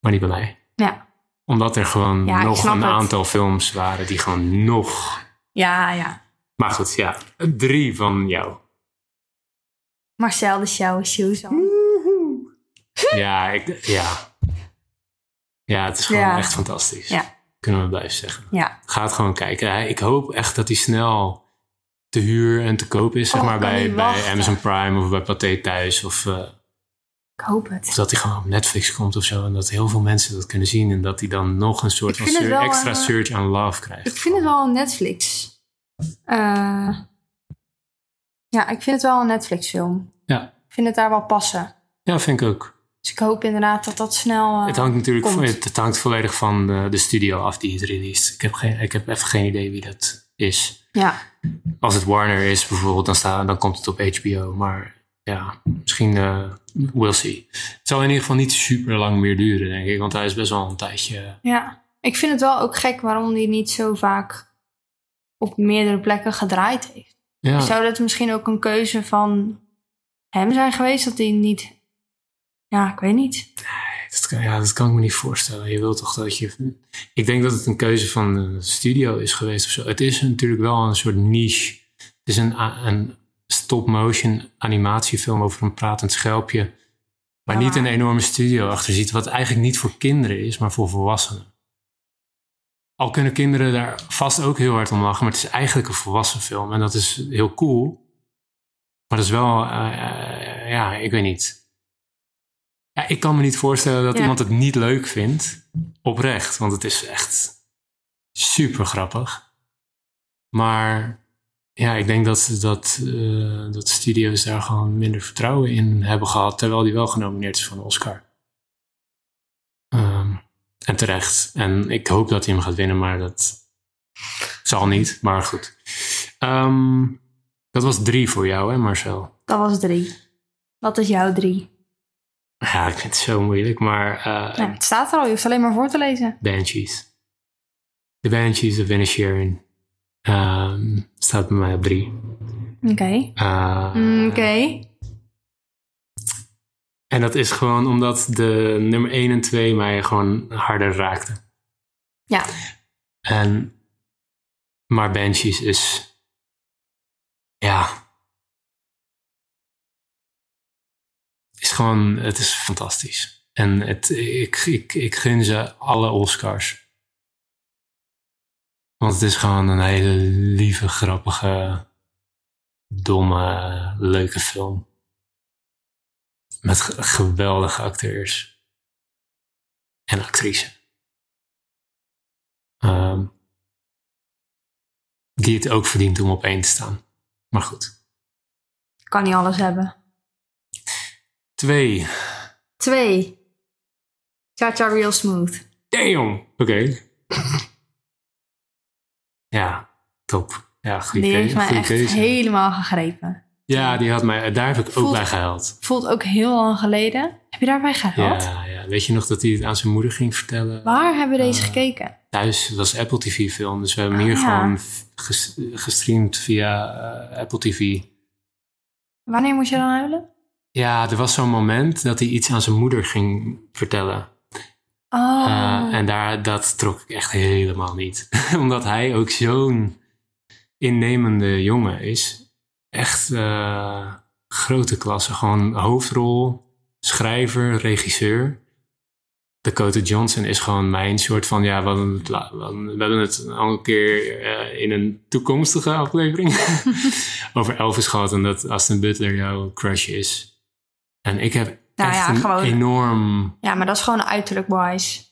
B: Maar niet bij mij.
A: ja.
B: Omdat er gewoon
A: Ja, ik
B: nog een
A: snap het.
B: aantal films waren die gewoon nog
A: Ja, ja.
B: maar goed, ja. Drie van jou.
A: Marcel de Show is Shoes.
B: Ja, ik, ja. ja het is gewoon
A: Ja.
B: echt fantastisch.
A: Ja.
B: Kunnen we blijven zeggen.
A: Ja.
B: Ga het gewoon kijken. Hij- Ik hoop echt dat hij snel te huur en te koop is. Zeg
A: Oh,
B: maar
A: ik kan
B: bij,
A: niet
B: bij
A: wachten.
B: Amazon Prime of bij Pathé Thuis. Of, eh,
A: Ik hoop
B: of
A: het.
B: dat hij gewoon op Netflix komt of zo. En dat heel veel mensen dat kunnen zien. En dat hij dan nog een soort
A: Ik
B: van
A: vind het
B: sur-
A: wel,
B: extra
A: eh,
B: surge aan love krijgt.
A: Ik vind het wel een Netflix. Eh, ja, ik vind het wel een Netflix film.
B: Ja.
A: Ik vind het daar wel passen.
B: Ja, vind ik ook.
A: Dus ik hoop inderdaad dat dat snel... eh,
B: Het hangt natuurlijk
A: komt.
B: het, het hangt volledig van de, de studio af die het released. Ik heb, geen, ik heb even geen idee wie dat is.
A: Ja,
B: Als het Warner is bijvoorbeeld, dan, staat, dan komt het op HBO. Maar ja, misschien eh we'll see. Het zal in ieder geval niet super lang meer duren, denk ik. Want hij is best wel een tijdje...
A: ja. Ik vind het wel ook gek waarom die niet zo vaak op meerdere plekken gedraaid heeft.
B: Ja,
A: Zou dat misschien ook een keuze van hem zijn geweest? Dat hij niet... Ja, ik weet niet.
B: dat, kan- ja, dat kan ik me niet voorstellen. Je wilt toch dat je... Ik denk dat het een keuze van de studio is geweest of zo. Het is natuurlijk wel een soort niche. Het is een, a- een stop-motion animatiefilm over een pratend schelpje. Maar
A: Ja,
B: niet
A: maar-
B: een enorme studio achter zit. Wat eigenlijk niet voor kinderen is, maar voor volwassenen. Al kunnen kinderen daar vast ook heel hard om lachen. Maar het is eigenlijk een volwassen film. En dat is heel cool. Maar dat is wel... eh, eh, ja, ik weet niet. Ja, ik kan me niet voorstellen dat
A: Ja.
B: iemand het niet leuk vindt. Oprecht. Want het is echt super grappig. Maar ja, ik denk dat, dat, eh, dat studio's daar gewoon minder vertrouwen in hebben gehad. Terwijl die wel genomineerd is voor een Oscar. Ehm, en terecht. En ik hoop dat hij hem gaat winnen, maar dat zal niet. Maar goed. Ehm, dat was drie voor jou, hè Marcel?
A: Dat was drie. Dat is jouw drie.
B: Ja, ik vind het zo moeilijk, maar eh,
A: Ja, het staat er al, je hoeft alleen maar voor te lezen.
B: Banshees. De Banshees of Inisherin ehm staat bij mij op drie.
A: Oké.
B: Eh,
A: Mm, Oké.
B: En dat is gewoon omdat de nummer 1 en 2 mij gewoon harder raakten.
A: Ja.
B: En, maar Banshees is... Ja. Is gewoon, het is fantastisch. En het, ik, ik, ik gun ze alle Oscars. Want het is gewoon een hele lieve, grappige, domme, leuke film. Met ge- geweldige acteurs. En actrice. Ehm, die het ook verdient om op één te staan. Maar goed.
A: Kan niet alles hebben.
B: Twee.
A: Twee. Cha Cha Real Smooth.
B: Damn! Oké. ja, top. Ja, goede
A: die heeft
B: keuze.
A: mij
B: goede
A: echt
B: keuze.
A: helemaal gegrepen.
B: Ja, die had mij, daar heb ik ook
A: Voelt-
B: bij gehuild.
A: Voelt ook heel lang geleden. Heb je daarbij gehaald?
B: Ja, ja. Weet je nog dat hij het aan zijn moeder ging vertellen?
A: Waar hebben we deze
B: Eh,
A: gekeken?
B: Thuis het was Apple TV film, dus we hebben
A: Ah,
B: hier
A: ja.
B: gewoon f- ges- gestreamd via eh, Apple TV.
A: Wanneer moest je dan huilen?
B: Ja, er was zo'n moment dat hij iets aan zijn moeder ging vertellen.
A: Oh.
B: Eh, en daar, dat trok ik echt helemaal niet. Omdat hij ook zo'n innemende jongen is. Echt, eh, grote klasse. Gewoon hoofdrol, schrijver, regisseur. Dakota Johnson is gewoon mijn soort van, ja, we hadden het, la- we hadden- we hebben het al een keer eh, in een toekomstige aflevering over Elvis gehad en dat Aston Butler jouw crush is. En ik heb
A: Nou
B: echt
A: ja,
B: een
A: gewoon-
B: enorm
A: Ja, maar dat is gewoon uiterlijk wise.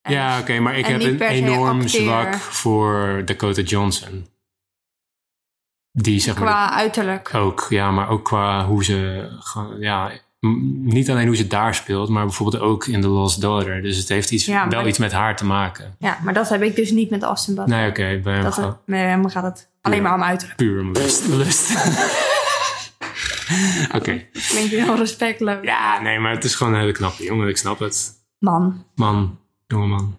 A: En-
B: ja, oké, maar ik
A: en
B: heb
A: niet
B: een
A: per se
B: enorm
A: acteer.
B: zwak voor Dakota Johnson. Die zeg maar
A: Qua uiterlijk.
B: ook, ja, maar ook qua hoe ze, ge- ja, m- niet alleen hoe ze daar speelt, maar bijvoorbeeld ook in The Lost Daughter. Dus het heeft iets,
A: Ja, maar
B: wel
A: dat-
B: iets met haar te maken.
A: Ja, maar dat heb ik dus niet met Austin Butler.
B: Nee, oké, bij hem
A: dat
B: gewoon
A: het, met hem gaat het alleen maar om uiterlijk.
B: puur om lust. lust. oké.
A: Klinkt heel respectloos.
B: Ja, nee, maar het is gewoon een hele knappe jongen, ik snap het.
A: Man,
B: Man, jongeman.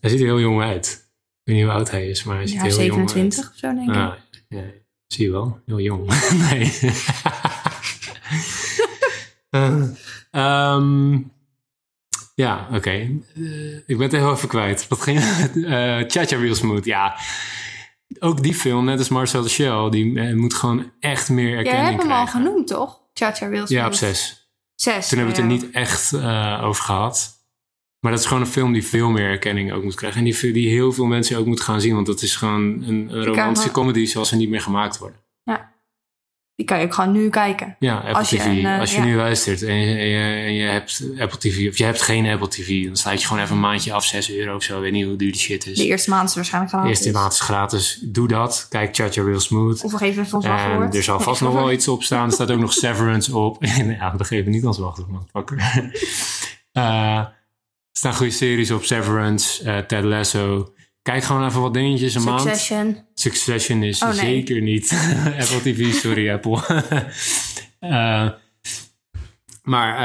B: Hij ziet er heel jong uit. Ik weet niet hoe oud hij is, maar hij ziet
A: ja,
B: er heel jong uit.
A: 27 of zo denk ik.
B: Ah, ja, zie je wel. Heel jong. nee. Eh, ehm, ja, oké. Eh, ik ben het heel even kwijt. Wat ging... eh Cha-Cha Real Smooth, ja. Ook die film, net als Marcel de Shell, die eh, moet gewoon echt meer
A: Jij
B: erkenning
A: hebt hem al
B: krijgen.
A: genoemd, toch? Chacha Wilson.
B: Ja, op zes.
A: Zes.
B: Toen hebben we het er
A: ja.
B: niet echt eh, over gehad. Maar dat is gewoon een film die veel meer erkenning ook moet krijgen. En die, die heel veel mensen ook moeten gaan zien. Want dat is gewoon een, een romantische
A: maar-
B: comedy zoals ze niet meer gemaakt worden.
A: Die kan je ook gewoon nu kijken.
B: Ja, Apple
A: Als je
B: TV.
A: een, eh,
B: als je
A: ja.
B: nu luistert en je, en, je, en je hebt Apple TV, of je hebt geen Apple TV, dan sluit je gewoon even een maandje af, 6 euro of zo. Ik weet niet hoe duur die shit is.
A: De eerste maand is waarschijnlijk gaan.
B: Dus Eerste maand is gratis. Doe dat. Kijk Chacha Real Smooth.
A: Of we geven even ons
B: En
A: wachtwoord.
B: er zal vast nog wel iets op staan. Er staat ook nog Severance op. ja, we geven niet als wachtwoord, motherfucker. Eh, er staan goede series op. Severance, eh, Ted Lasso. Kijk gewoon even wat dingetjes een maand.
A: Succession.
B: Succession is
A: Oh, nee.
B: zeker niet Apple TV, sorry Apple. Eh, maar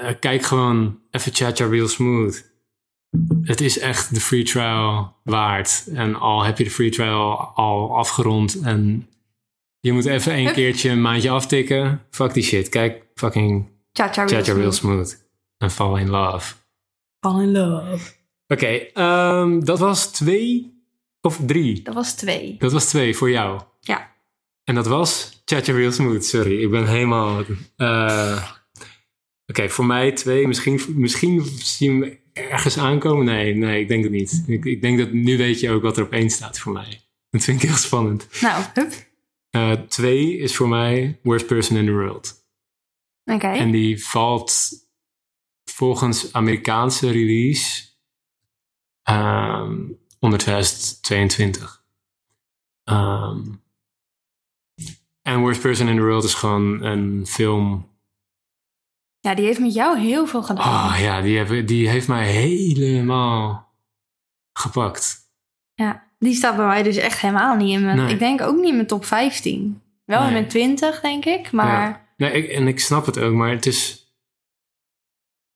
B: eh, kijk gewoon even Chacha Real Smooth. Het is echt de free trial waard. En al heb je de free trial al afgerond en je moet even een
A: Hup.
B: keertje een maandje aftikken. Fuck die shit. Kijk fucking
A: Chacha Wilson.
B: Chacha Real Smooth. En fall in love.
A: Fall in love.
B: Oké, ehm, dat was twee of drie.
A: Dat was twee.
B: Dat was twee voor jou.
A: Ja.
B: En dat was Chacha Real Smooth. Sorry, ik ben helemaal... eh, Oké, voor mij twee. Misschien, misschien zie je hem ergens aankomen. Nee, nee, ik denk het niet. Ik, ik denk dat nu weet je ook wat er op één staat voor mij. Dat vind ik heel spannend.
A: Nou, hup.
B: Eh, twee is voor mij Worst Person in the World.
A: Oké.
B: En die valt volgens Amerikaanse release ehm, onder 2022. Ehm, en Worst Person in the World is gewoon een film.
A: Ja, die heeft met jou heel veel gedaan.
B: Oh ja, die, heb, die heeft mij helemaal gepakt.
A: Ja. Die staat bij mij dus echt helemaal niet in mijn...
B: Nee.
A: Ik denk ook niet in mijn top 15. Wel in
B: Nee.
A: mijn 20, denk ik. Maar
B: Ja. Nee, ik, en ik snap het ook, maar het is.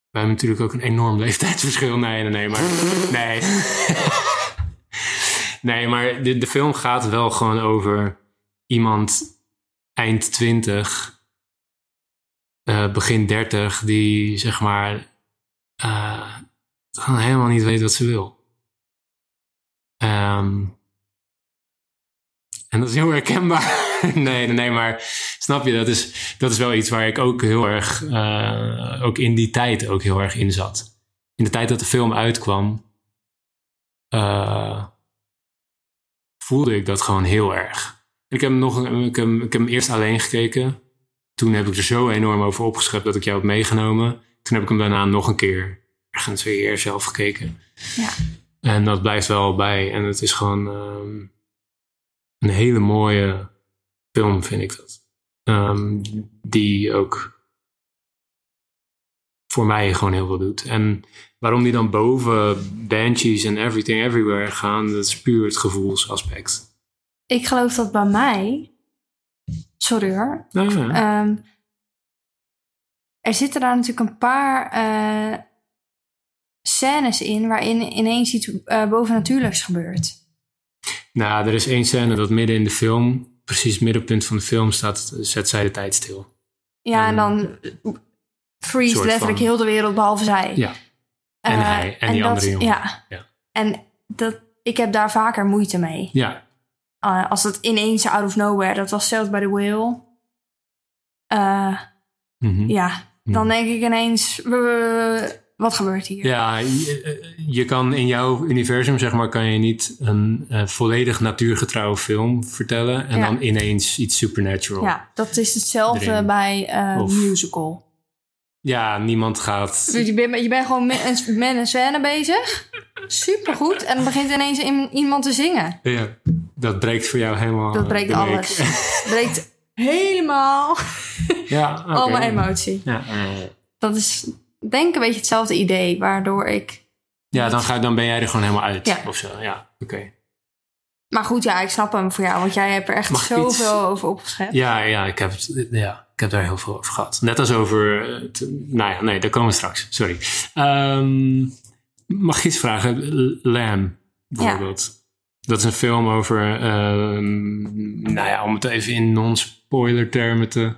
B: We hebben natuurlijk ook een enorm leeftijdsverschil. Nee, nee, nee, maar. Nee. nee, maar de, de film gaat wel gewoon over iemand eind 20, eh, begin 30, die zeg maar. eh, gewoon helemaal niet weet wat ze wil. Ehm, en dat is heel herkenbaar. nee, nee, nee, maar snap je, dat is, dat is wel iets waar ik ook heel erg, eh, ook in die tijd ook heel erg in zat. In de tijd dat de film uitkwam, eh, voelde ik dat gewoon heel erg. Ik heb, hem nog, ik, heb, hem- ik heb hem eerst alleen gekeken. Toen heb ik er zo enorm over opgeschept dat ik jou heb meegenomen. Toen heb ik hem daarna nog een keer ergens weer zelf gekeken.
A: Ja.
B: En dat blijft wel bij. En het is gewoon ehm, een hele mooie film, vind ik dat. Ehm, die ook voor mij gewoon heel veel doet. En waarom die dan boven Banshees en Everything Everywhere gaan, dat is puur het gevoelsaspect.
A: ik geloof dat bij mij... Sorry hoor.
B: Nou ja.
A: Ehm, er zitten daar natuurlijk een paar eh, scènes in waarin ineens iets eh, bovennatuurlijks gebeurt.
B: Nou, er is één scène dat midden in de film, precies middenpunt van de film, staat, zet zij de tijd stil.
A: Ja, en
B: Ehm,
A: dan freeze
B: soort
A: letterlijk
B: van-
A: heel de wereld behalve zij.
B: Ja. En
A: Eh,
B: hij, en die andere jongen.
A: Ja.
B: Ja.
A: En dat, ik heb daar vaker moeite mee.
B: Ja,
A: Eh, als dat ineens out of nowhere, dat was zelfs bij The Whale. eh,
B: Mhm.
A: ja, dan denk ik ineens, w- w- wat gebeurt hier?
B: Ja, je, je kan in jouw universum, zeg maar, kan je niet een eh, volledig natuurgetrouwe film vertellen en
A: Ja.
B: dan ineens iets supernatural.
A: Ja, dat is hetzelfde
B: Erin.
A: bij eh
B: Of-
A: musical.
B: Ja, niemand gaat.
A: Dus je bent, je bent gewoon met een, met een scène bezig. Supergoed. En dan begint ineens im- iemand te zingen.
B: Ja, dat breekt voor jou helemaal.
A: Dat
B: eh,
A: breekt
B: de week.
A: alles. breekt helemaal
B: ja,
A: al
B: oké.
A: mijn emotie.
B: Ja, eh,
A: Dat is denk ik een beetje hetzelfde idee. Waardoor ik...
B: ja dan, ga, dan ben jij er gewoon helemaal uit
A: Ja.
B: of zo. Ja, oké.
A: Maar goed, ja, ik snap hem voor jou. Want jij hebt er echt
B: Mag ik
A: zoveel
B: iets-
A: over opgeschept.
B: Ja, ja, ik heb, het- ja, ik heb daar heel veel over gehad. Net als over. eh, het- nou ja, nee, daar komen we straks. Sorry. Ehm, mag ik iets vragen? L- Lamb, bijvoorbeeld. Dat is een film over. ehm, nou ja, om het even in non-spoiler termen te.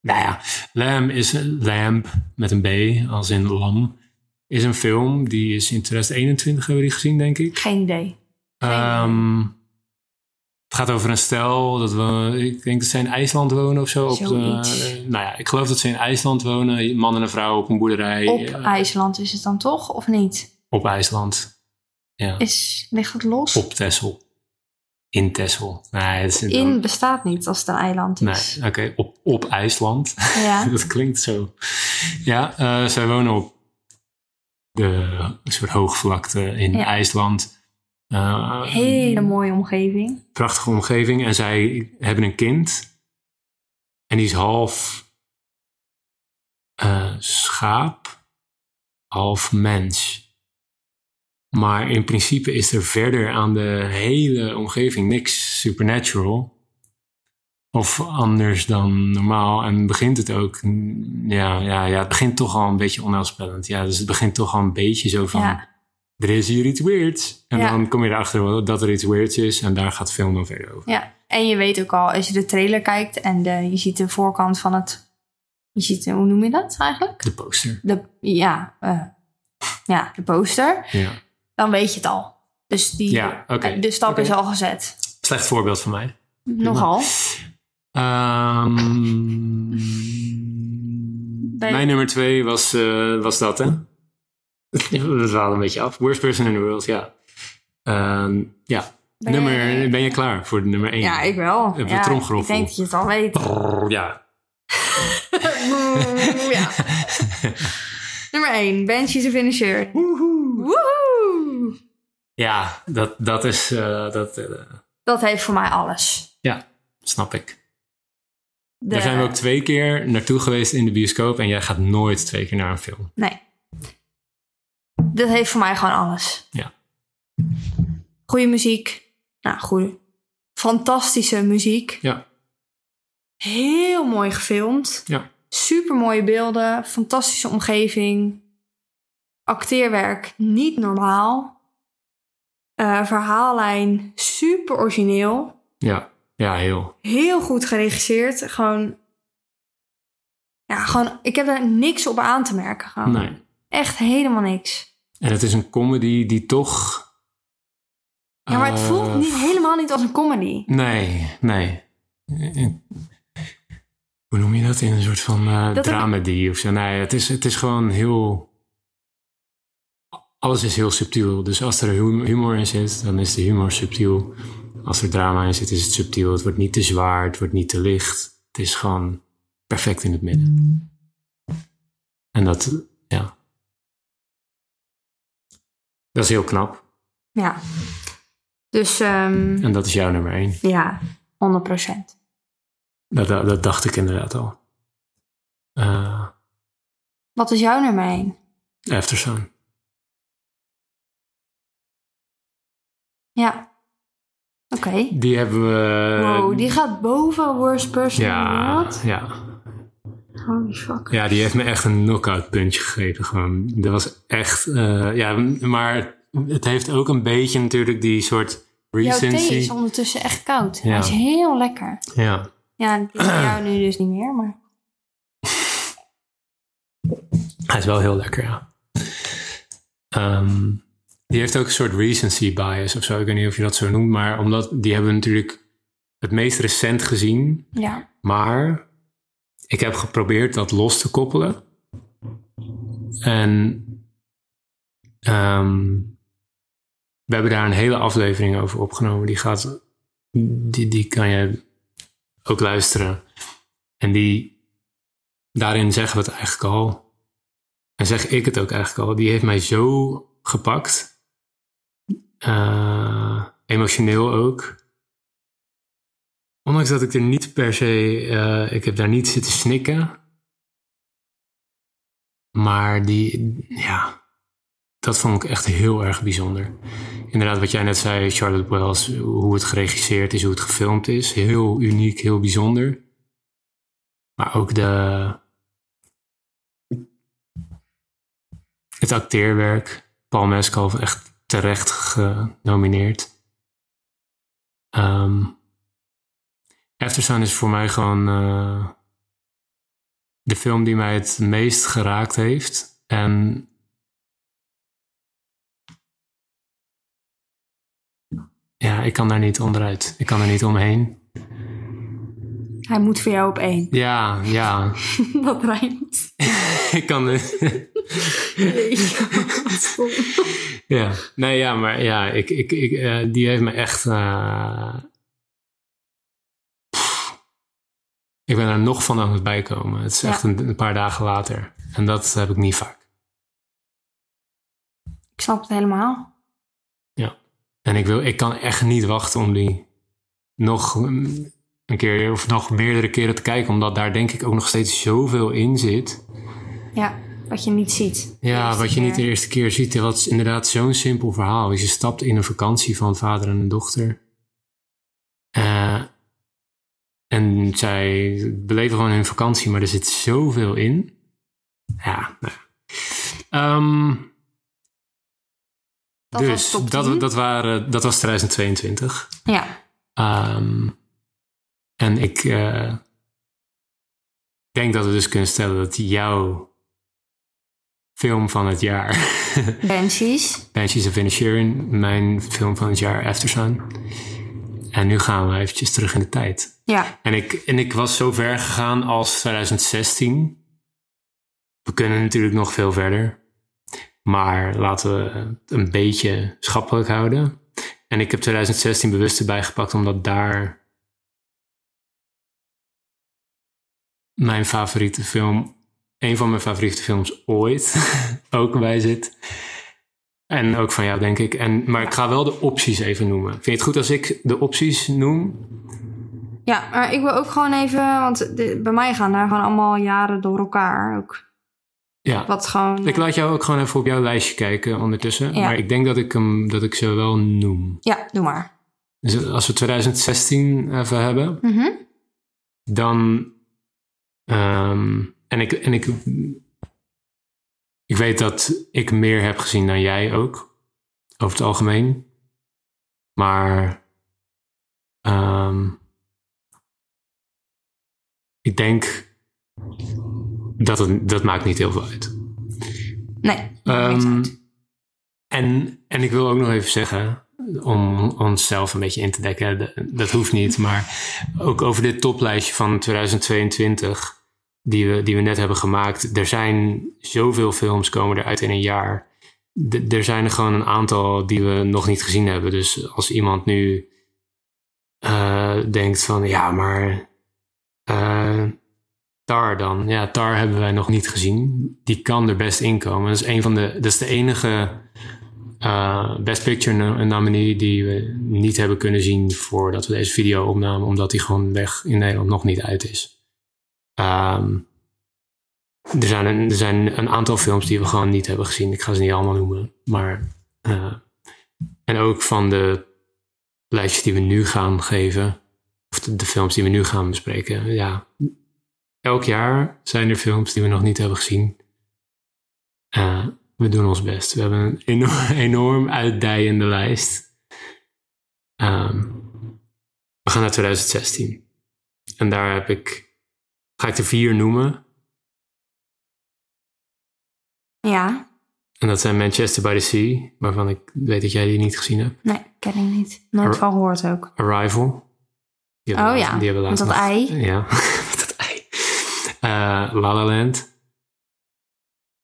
B: Nou ja, Lamb is. Lamb met een B, als in lam. Is een film die is in 2021 hebben we die gezien, denk ik.
A: Geen idee.
B: Ehm, het gaat over een stel dat we, ik denk dat ze in IJsland wonen of zo. Op de,
A: Zoiets.
B: nou ja, ik geloof dat ze in IJsland wonen, een man en een vrouw op een boerderij
A: Op
B: eh,
A: IJsland is het dan toch? Of niet?
B: op IJsland. Ja,
A: Is, ligt het los?
B: op Texel. In Texel. Nee, het is in-
A: In bestaat niet als het een eiland
B: nee,
A: is.
B: oké, op, op IJsland.
A: Ja.
B: dat klinkt zo. Ja, eh, zij wonen op de soort hoogvlakte in
A: Ja.
B: IJsland. Eh,
A: Hele mooie omgeving.
B: prachtige omgeving. En zij hebben een kind. En die is half eh, schaap, half mens. Maar in principe is er verder aan de hele omgeving niks supernatural. Of anders dan normaal. En begint het ook. mm, Ja, ja, ja het begint toch al een beetje onheilspellend. Ja, dus het begint toch al een beetje zo van.
A: Ja.
B: Er is hier iets weirds. En
A: Ja.
B: dan kom je erachter dat er iets weirds is. En daar gaat de film dan verder over.
A: Ja, en je weet ook al, als je de trailer kijkt en de, je ziet de voorkant van het... Je ziet, de- hoe noem je dat eigenlijk?
B: De poster.
A: De, ja, eh, ja, de poster.
B: Ja.
A: Dan weet je het al. Dus die,
B: Ja, oké.
A: de stap
B: Oké.
A: is al gezet.
B: Slecht voorbeeld van mij.
A: Nogal.
B: Ehm,
A: Bij-
B: Mijn nummer twee was, eh, was dat, hè? We dwalen een beetje af. Worst person in the world, ja. Ehm, ja,
A: Ben
B: nummer,
A: jij-
B: ben je klaar voor de nummer één?
A: Ja, ik wel.
B: Even
A: ja,
B: tromgeroffel.
A: ik denk dat je het al weet.
B: Brrr, ja.
A: ja. Nummer 1. Banshees of Inisherin. Woehoe!
B: Ja, dat, dat is... eh, dat eh,
A: Dat heeft voor mij alles.
B: ja, snap ik.
A: De-
B: Daar zijn we ook twee keer naartoe geweest in de bioscoop... en jij gaat nooit twee keer naar een film.
A: Nee. Dat heeft voor mij gewoon alles.
B: Ja.
A: Goede muziek. Nou, goede. Fantastische muziek.
B: Ja,
A: Heel mooi gefilmd.
B: ja.
A: Super mooie beelden. Fantastische omgeving. Acteerwerk niet normaal. Eh, verhaallijn super origineel.
B: Ja, ja heel.
A: Heel goed geregisseerd. Gewoon. Ja, gewoon. Ik heb daar niks op aan te merken. Gewoon.
B: Nee.
A: Echt helemaal niks.
B: En het is een comedy die toch.
A: Ja, maar het
B: eh,
A: voelt niet, helemaal niet als een comedy.
B: Nee, nee. Eh, eh, Hoe noem je dat in een soort van eh
A: Dat er-
B: dramedy of zo? Nee, het is, het is gewoon heel. Alles is heel subtiel. Dus als er hum- humor in zit, dan is de humor subtiel. Als er drama in zit, is het subtiel. Het wordt niet te zwaar, het wordt niet te licht. Het is gewoon perfect in het midden. En dat, ja. Dat is heel knap.
A: Ja. Dus ehm,
B: En dat is jouw nummer één.
A: ja, 100%.
B: Dat, dat, dat dacht ik inderdaad al. Eh
A: Wat is jouw nummer 1?
B: Aftersun.
A: Ja. Oké.
B: Die hebben we...
A: wow, die gaat boven Worst Person in the
B: Ehm, Ja,
A: World.
B: ja.
A: Holy fuck.
B: Ja, die heeft me echt een knockout puntje gegeven. Gewoon. Dat was echt... eh, ja, maar het heeft ook een beetje natuurlijk die soort
A: Jouw thee is
B: recency.
A: ondertussen echt koud.
B: Ja.
A: Hij is heel lekker.
B: Ja.
A: Ja, die is voor jou nu dus niet meer, maar...
B: Hij is wel heel lekker, ja. Ehm, die heeft ook een soort recency bias of zo. Ik weet niet of je dat zo noemt. Maar omdat die hebben we natuurlijk het meest recent gezien.
A: Ja.
B: Maar ik heb geprobeerd dat los te koppelen. En ehm, we hebben daar een hele aflevering over opgenomen. Die, gaat, die, die kan je ook luisteren. En die, daarin zeggen we het eigenlijk al. En zeg ik het ook eigenlijk al. Die heeft mij zo gepakt. Eh, emotioneel ook. Ondanks dat ik er niet per se, eh, ik heb daar niet zitten snikken. Maar die, ja, dat vond ik echt heel erg bijzonder. Inderdaad, wat jij net zei, Charlotte Wells, hoe het geregisseerd is, hoe het gefilmd is. Heel uniek, heel bijzonder. Maar ook de, het acteerwerk. Paul Mescal echt terecht genomineerd. Ehm Aftersun is voor mij gewoon eh, de film die mij het meest geraakt heeft. En ja, ik kan daar niet onderuit. Ik kan er niet omheen.
A: Hij moet voor jou op één.
B: Ja, ja.
A: Dat rijmt.
B: ik kan. Ja, nee, ja, maar ja, ik, ik, ik, eh, die heeft me echt. eh, pff, ik ben er nog van aan het bijkomen. Het is
A: Ja.
B: echt een, een paar dagen later. En dat heb ik niet vaak.
A: Ik snap het helemaal.
B: En ik, wil, ik kan echt niet wachten om die nog mm, een keer of nog meerdere keren te kijken. Omdat daar denk ik ook nog steeds zoveel in zit.
A: Ja, wat je niet ziet.
B: Ja,
A: Eerste
B: wat je niet de
A: keer.
B: eerste keer ziet. Wat is inderdaad zo'n simpel verhaal. is, Je stapt in een vakantie van vader en een dochter. Eh, en zij beleven gewoon hun vakantie, maar er zit zoveel in. Ja, nou. ja. Ehm,
A: Dat
B: dus
A: was top
B: dat,
A: 10.
B: dat, waren, dat was 2022.
A: Ja,
B: Ehm, en ik eh, denk dat we dus kunnen stellen dat jouw film van het jaar
A: Banshees.
B: Banshees of Inisherin, mijn film van het jaar Aftersun. En nu gaan we eventjes terug in de tijd.
A: Ja,
B: En ik, en ik was zo ver gegaan als 2016. We kunnen natuurlijk nog veel verder. Maar laten we het een beetje schappelijk houden. En ik heb 2016 bewust erbij gepakt omdat daar mijn favoriete film, een van mijn favoriete films ooit, ook bij zit. En ook van jou, denk ik. En, maar ik ga wel de opties even noemen. Vind je het goed als ik de opties noem?
A: ja maar ik wil ook gewoon even... Want de- bij mij gaan daar gewoon allemaal jaren door elkaar ook.
B: Ja.
A: Wat gewoon...
B: Ik laat jou ook gewoon even op jouw lijstje kijken ondertussen.
A: Ja.
B: Maar ik denk dat ik, hem, dat ik ze wel noem.
A: Ja, doe maar.
B: Dus als we 2016 even hebben,
A: Mhm.
B: dan. ehm, en ik, en ik, ik weet dat ik meer heb gezien dan jij ook, over het algemeen. Maar ehm, ik denk dat het, dat maakt niet heel veel uit.
A: Nee, maakt niks
B: Ehm,
A: uit.
B: en, en ik wil ook nog even zeggen, om onszelf een beetje in te dekken, d- dat hoeft niet, maar ook over dit toplijstje van 2022, die we, die we net hebben gemaakt, er zijn zoveel films komen eruit in een jaar. D- er zijn er gewoon een aantal die we nog niet gezien hebben. Dus als iemand nu eh, denkt van, ja, maar eh, Tar dan. Ja, Tar hebben wij nog niet gezien. Die kan er best in komen. Dat is, een van de, dat is de enige eh, Best Picture no- nominee die we niet hebben kunnen zien voordat we deze video opnamen, omdat die gewoon weg in Nederland nog niet uit is. Ehm, er, zijn een, er zijn een aantal films die we gewoon niet hebben gezien. Ik ga ze niet allemaal noemen, maar. eh, en ook van de lijstjes die we nu gaan geven, of de, de films die we nu gaan bespreken, ja. Elk jaar zijn er films die we nog niet hebben gezien. Eh, we doen ons best. We hebben een enorm, enorm uitdijende lijst. Ehm, we gaan naar 2016. En daar heb ik, ga ik er vier noemen.
A: Ja,
B: En dat zijn Manchester by the Sea, waarvan ik weet dat jij die niet gezien hebt.
A: nee, ken ik niet. Nooit
B: Er-
A: van gehoord ook.
B: Arrival. Die hebben
A: Oh
B: we laatst-
A: ja,
B: die hebben we
A: met
B: laatst
A: dat
B: nog-
A: ei.
B: Ja, met dat ei. Eh, La La Land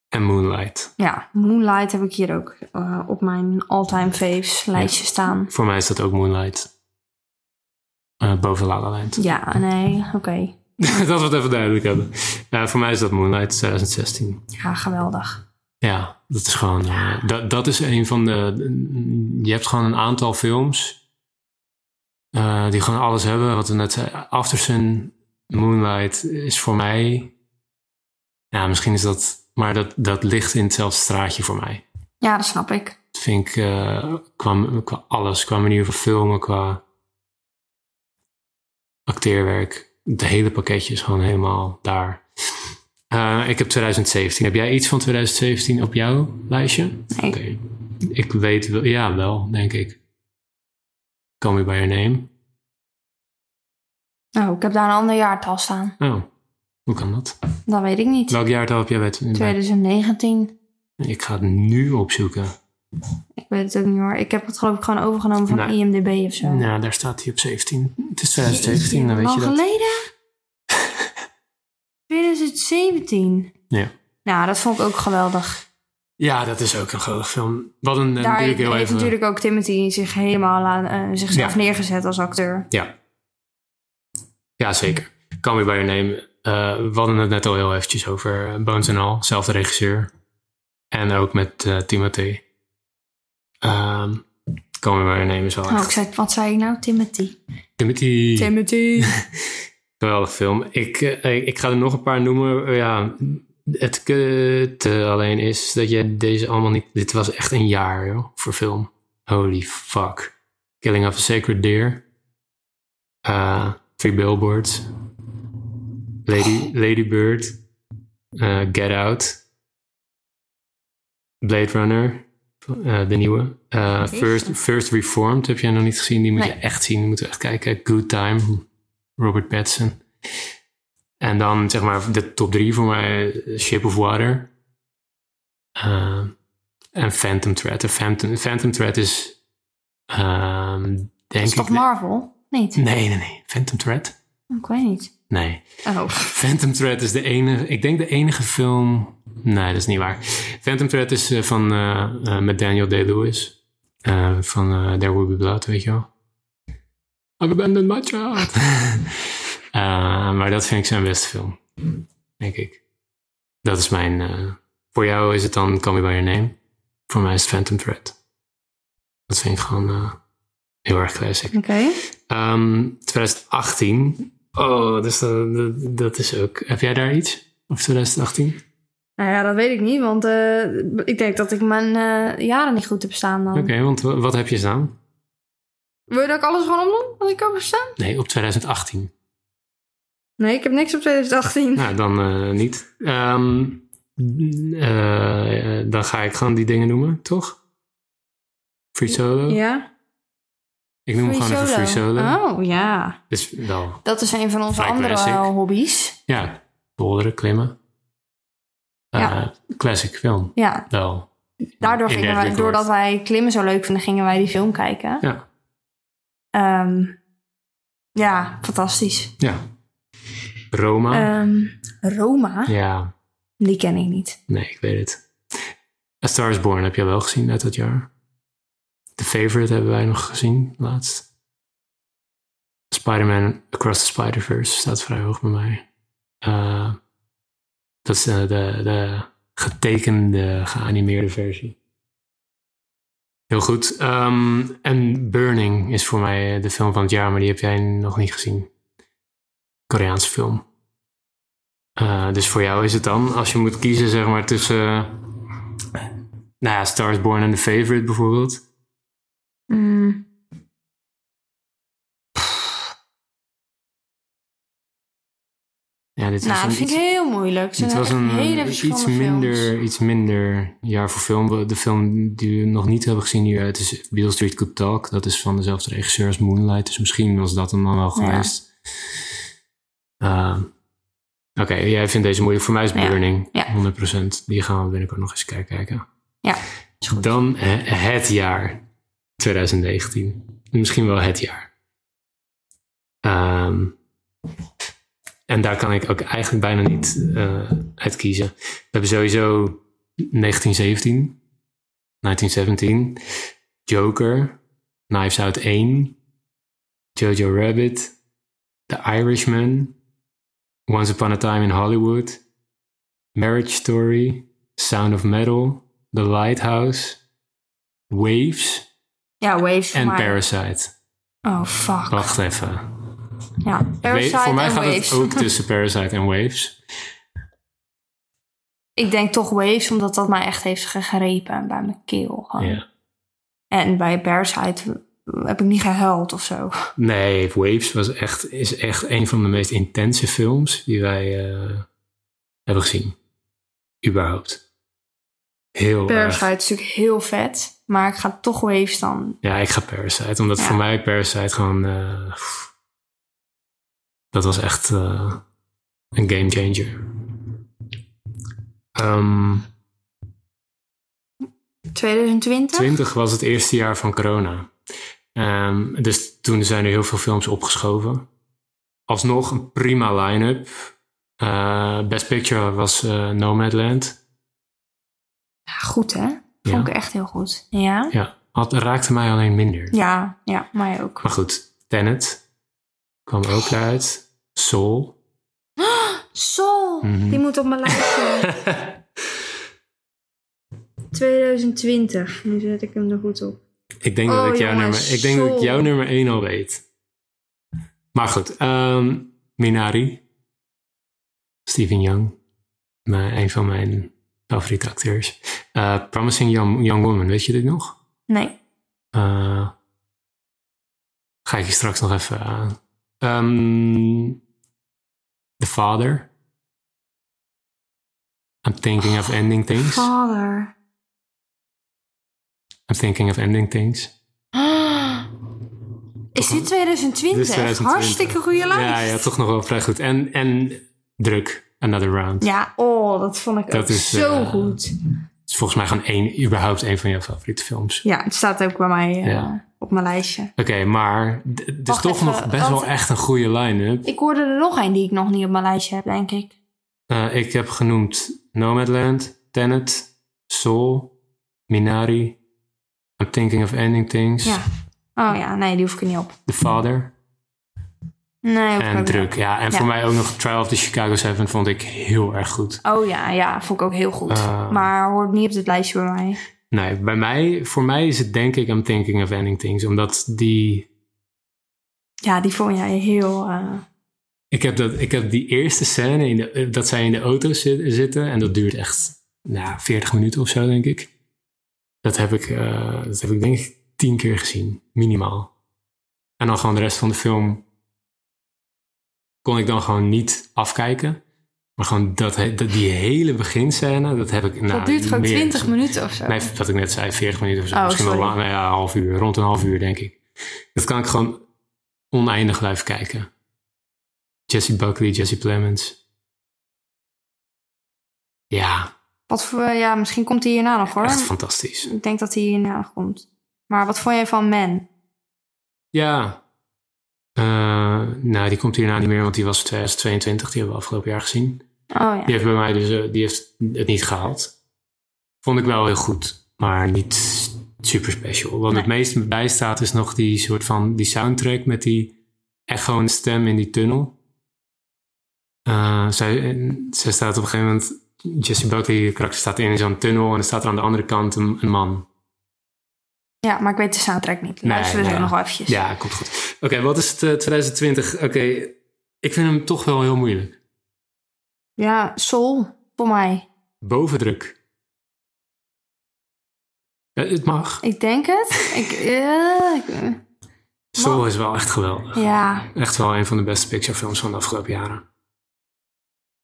B: en Moonlight.
A: Ja, Moonlight heb ik hier ook eh, op mijn all-time faves lijstje staan.
B: Voor mij is dat ook Moonlight. Eh, boven La La Land.
A: Ja, nee, oké.
B: dat we het even duidelijk hebben. Ja, voor mij is dat Moonlight 2016.
A: Ja, geweldig.
B: Ja, dat is gewoon. eh, dat, dat is een van de. Je hebt gewoon een aantal films. eh, die gewoon alles hebben. Wat we net zeiden. Aftersun, Moonlight is voor mij. Ja, misschien is dat. Maar dat, dat ligt in hetzelfde straatje voor mij.
A: Ja, dat snap ik.
B: Dat vind ik. eh, qua, qua alles. Qua manier van filmen. Qua. acteerwerk. Het hele pakketje is gewoon helemaal daar. Eh, ik heb 2017. Heb jij iets van 2017 op jouw lijstje?
A: Nee.
B: Oké. Ik weet wel, ja, wel, denk ik. Call me by your name.
A: Nou, ik heb daar een ander jaartal staan.
B: Oh, hoe kan dat?
A: Dat weet ik niet.
B: Welk jaartal heb jij bij?
A: 2019.
B: Ik ga het nu opzoeken.
A: Ik weet het ook niet hoor. Ik heb het geloof ik gewoon overgenomen van
B: Nou,
A: IMDB of zo.
B: Nou, daar staat hij op 17. Het is 2017, dan weet
A: Lang
B: je dat.
A: geleden? 2017.
B: Ja.
A: Nou, dat vond ik ook geweldig.
B: Ja, dat is ook een geweldig film. Wat een,
A: Daar
B: eh, natuurlijk
A: heeft
B: heel even...
A: natuurlijk ook Timothy zich helemaal aan, eh, zichzelf
B: Ja.
A: neergezet als acteur.
B: Ja. Ja, zeker. Call me by your name. Eh, we hadden het net al heel eventjes over eh, Bones and All. Zelfde regisseur. En ook met eh, Timothy. Ehm Call me by your name is wel
A: Oh,
B: echt...
A: ik zei, wat zei ik nou? Timothy.
B: Timothy.
A: Timothy.
B: Geweldig film. Ik, eh, ik ga er nog een paar noemen. Eh, Ja, het kutte alleen is dat je deze allemaal niet... Dit was echt een jaar, joh, voor film. Holy fuck. Killing of a Sacred Deer. Eh, Three Billboards. Lady, Lady Bird. Eh, Get Out. Blade Runner. eh, de nieuwe. Eh, First, First Reformed heb jij nog niet gezien. Die moet je
A: Nee.
B: echt zien. Die moeten we echt kijken. Good Time. Robert Pattinson. En dan zeg maar de top drie voor mij: eh, Shape of Water. Ehm, en Phantom Thread. De Phantom, Phantom Thread is. ehm, denk
A: Dat is
B: ik.
A: toch Marvel? Niet?
B: nee, nee, nee. Phantom Thread?
A: Ik weet niet.
B: Nee.
A: Oh.
B: Phantom Thread is de enige, ik denk de enige film. Nee, dat is niet waar. Phantom Thread is eh, van, eh, eh, met Daniel Day-Lewis. Eh, van eh, There Will Be Blood, weet je wel. I've abandoned my child. Eh, maar dat vind ik zijn beste film. Denk ik. Dat is mijn... eh, voor jou is het dan Call Me By Your Name. Voor mij is het Phantom Thread. Dat vind ik gewoon eh, heel erg classic.
A: Oké.
B: Ehm, 2018. Oh, dus dat, dat, dat is ook. Heb jij daar iets? Of 2018?
A: Nou ja, dat weet ik niet, want eh, ik denk dat ik mijn eh, jaren niet goed heb staan dan.
B: Oké, want wa- wat heb je staan?
A: Wil je dat ik alles gewoon omdoen wat ik heb staan?
B: Nee, op 2018.
A: Nee, ik heb niks op 2018.
B: Nou, dan eh, niet. Ehm, eh, dan ga ik gewoon die dingen noemen, toch? Free Solo?
A: Ja?
B: ik noem hem
A: Free
B: gewoon even Free Solo.
A: Oh ja.
B: Dus wel,
A: Dat is een van onze
B: Vrij
A: andere
B: classic.
A: eh, hobby's.
B: ja, polderen, klimmen. Eh,
A: Ja.
B: Classic film,
A: Ja,
B: wel.
A: daardoor
B: In
A: gingen
B: that
A: wij,
B: regard.
A: doordat wij klimmen zo leuk vinden, gingen wij die film kijken.
B: Ja.
A: Ehm, ja, fantastisch.
B: Ja. Roma?
A: Ehm, Roma,
B: Ah. ja,
A: die ken ik niet.
B: Nee, ik weet het. A Star is Born heb je wel gezien uit dat jaar. The Favorite hebben wij nog gezien, laatst. Spider-Man Across the Spider-Verse staat vrij hoog bij mij. Eh, dat is eh, de, de getekende, geanimeerde versie. Heel goed. Ehm, en Burning is voor mij eh, de film van het jaar, maar die heb jij nog niet gezien. Koreaanse film. Eh, dus voor jou is het dan, als je moet kiezen zeg maar tussen eh, nou ja, Stars Born en The Favorite bijvoorbeeld.
A: Mm.
B: Ja, dit was
A: Nou, dat
B: een,
A: vind
B: iets,
A: ik heel moeilijk. Het
B: dit was
A: zijn
B: een eh,
A: hele
B: iets,
A: verschillende
B: minder,
A: films.
B: iets minder jaar voor film. De film die we nog niet hebben gezien nu uit is Beale Street Could Talk. Dat is van dezelfde regisseur als Moonlight. Dus misschien was dat hem dan wel
A: Ja.
B: geweest. Ehm, Oké, jij vindt deze moeilijk. Voor mij is
A: Ja.
B: Burning,
A: Ja.
B: 100%. Die gaan we binnenkort nog eens kijken. kijken.
A: Ja, is goed.
B: Dan he- het jaar 2019. Misschien wel het jaar. Ehm, En daar kan ik ook eigenlijk bijna niet eh, uit kiezen. We hebben sowieso 1917, 1917, Joker, Knives Out 1, Jojo Rabbit, The Irishman, Once Upon a Time in Hollywood, Marriage Story, Sound of Metal, The Lighthouse, Waves
A: Ja, Waves.
B: en
A: maar-
B: Parasite.
A: Oh, fuck.
B: Wacht even.
A: Ja, Parasite
B: voor mij
A: en
B: gaat
A: Waves.
B: het ook tussen Parasite en Waves.
A: Ik denk toch Waves, omdat dat mij echt heeft gegrepen bij mijn keel. gewoon.
B: Ja.
A: En bij Parasite heb ik niet gehuild of zo.
B: Nee, Waves was echt, is echt een van de meest intense films die wij eh, hebben gezien. Überhaupt. Heel erg.
A: Parasite is natuurlijk heel vet, maar ik ga toch Waves dan.
B: Ja, ik ga Parasite. Omdat
A: Ja.
B: voor mij Parasite gewoon... eh, dat was echt eh, een game changer. Ehm
A: 2020?
B: 20 was het eerste jaar van corona. Ehm, dus toen zijn er heel veel films opgeschoven. Alsnog een prima line-up. Eh, Best Picture was eh, Nomadland.
A: Ja, goed hè?
B: Ja.
A: Vond ik echt heel goed. Ja?
B: Ja, had, raakte mij alleen minder.
A: Ja, ja, mij ook.
B: Maar goed, Tenet kwam ook uit. Soul.
A: Sol,
B: Mhm.
A: die moet op mijn lijstje. 2020, nu zet ik hem er goed op.
B: ik denk,
A: Oh,
B: dat, ik jouw
A: jongens,
B: nummer, ik denk dat ik
A: Soul.
B: jouw nummer 1 al weet. Maar goed, ehm, Minari. Stephen Young. Mijn, een van mijn favoriete acteurs. Eh, Promising Young, Young Woman, weet je dit nog?
A: Nee,
B: Eh, ga ik je straks nog even aan. Ehm, the Father. I'm thinking of ending things.
A: Oh. vader.
B: I'm thinking of ending things.
A: Is dit 2020?
B: Dit is 2020.
A: Hartstikke goede lijst.
B: Ja, ja, toch nog wel vrij goed. En, en druk, Another Round.
A: Ja, oh, dat vond ik
B: Dat
A: ook
B: is,
A: zo
B: eh,
A: goed.
B: Het is volgens mij gewoon één, überhaupt één van jouw favoriete films.
A: Ja, het staat ook bij mij eh,
B: Ja.
A: op mijn lijstje.
B: Oké, maar d- het is
A: Wacht
B: toch
A: even,
B: nog best
A: want-
B: wel echt een goede line-up.
A: Ik hoorde er nog een die ik nog niet op mijn lijstje heb, denk ik.
B: Eh, ik heb genoemd Nomadland, Tenet, Soul, Minari, I'm Thinking of Ending Things,
A: Ja. Oh ja, nee, die hoef ik er niet op.
B: The Father
A: Nee, hoef ik
B: en
A: ook niet
B: Druk. Ja, en
A: Ja.
B: voor mij ook nog Trial of the Chicago 7 vond ik heel erg goed.
A: op. Oh ja, ja, vond ik ook heel goed.
B: Eh.
A: maar hoort niet op dit lijstje bij mij.
B: Nee, bij mij, voor mij is het denk ik I'm Thinking of Ending Things, omdat die
A: Ja, die vond jij heel... eh,
B: Ik heb, dat, ik heb die eerste scène, in de, eh, dat zij in de auto zi- zitten. En dat duurt echt nou, 40 minuten of zo, denk ik. Dat heb ik, eh, dat heb ik denk ik tien keer gezien, minimaal. En dan gewoon de rest van de film kon ik dan gewoon niet afkijken. Maar gewoon dat, he- dat, die hele beginscène, dat heb ik... nou,
A: dat duurt gewoon
B: meer
A: 20
B: gezien.
A: minuten of zo.
B: Nee, wat ik net zei, 40 minuten of zo.
A: Oh,
B: misschien wel
A: sorry.
B: langer, ja, een half uur, rond een half uur denk ik. Dat kan ik gewoon oneindig blijven kijken. Jesse Buckley, Jesse Plemons. Ja,
A: Wat voor, eh, ja, misschien komt hij hierna nog hoor.
B: echt fantastisch.
A: Ik denk dat hij hierna nog komt. Maar wat vond jij van Man?
B: Ja. Eh, nou, die komt hierna niet meer, want die was 2022. Die hebben we afgelopen jaar gezien.
A: Oh
B: Die
A: ja.
B: heeft bij mij dus eh, die heeft het niet gehaald. Vond ik wel heel goed, maar niet super special. Wat
A: Nee.
B: het meest bijstaat is nog die soort van die soundtrack met die echo en stem in die tunnel. Eh, zij, en zij staat op een gegeven moment, Jesse Buckley, de karakter staat in zo'n tunnel en er staat er aan de andere kant een, een man.
A: Ja, maar ik weet de soundtrack niet.
B: Nee,
A: Luisteren we
B: nee.
A: ook nog wel eventjes.
B: Ja, komt goed. Oké, wat is het eh, 2020? Oké, ik vind hem toch wel heel moeilijk.
A: Ja, Sol, voor mij.
B: Bovendruk. Ja, het mag.
A: Ik denk het. ik, eh, ik- eh.
B: Soul is wel echt geweldig.
A: ja,
B: Echt wel een van de beste Pixar films van de afgelopen jaren.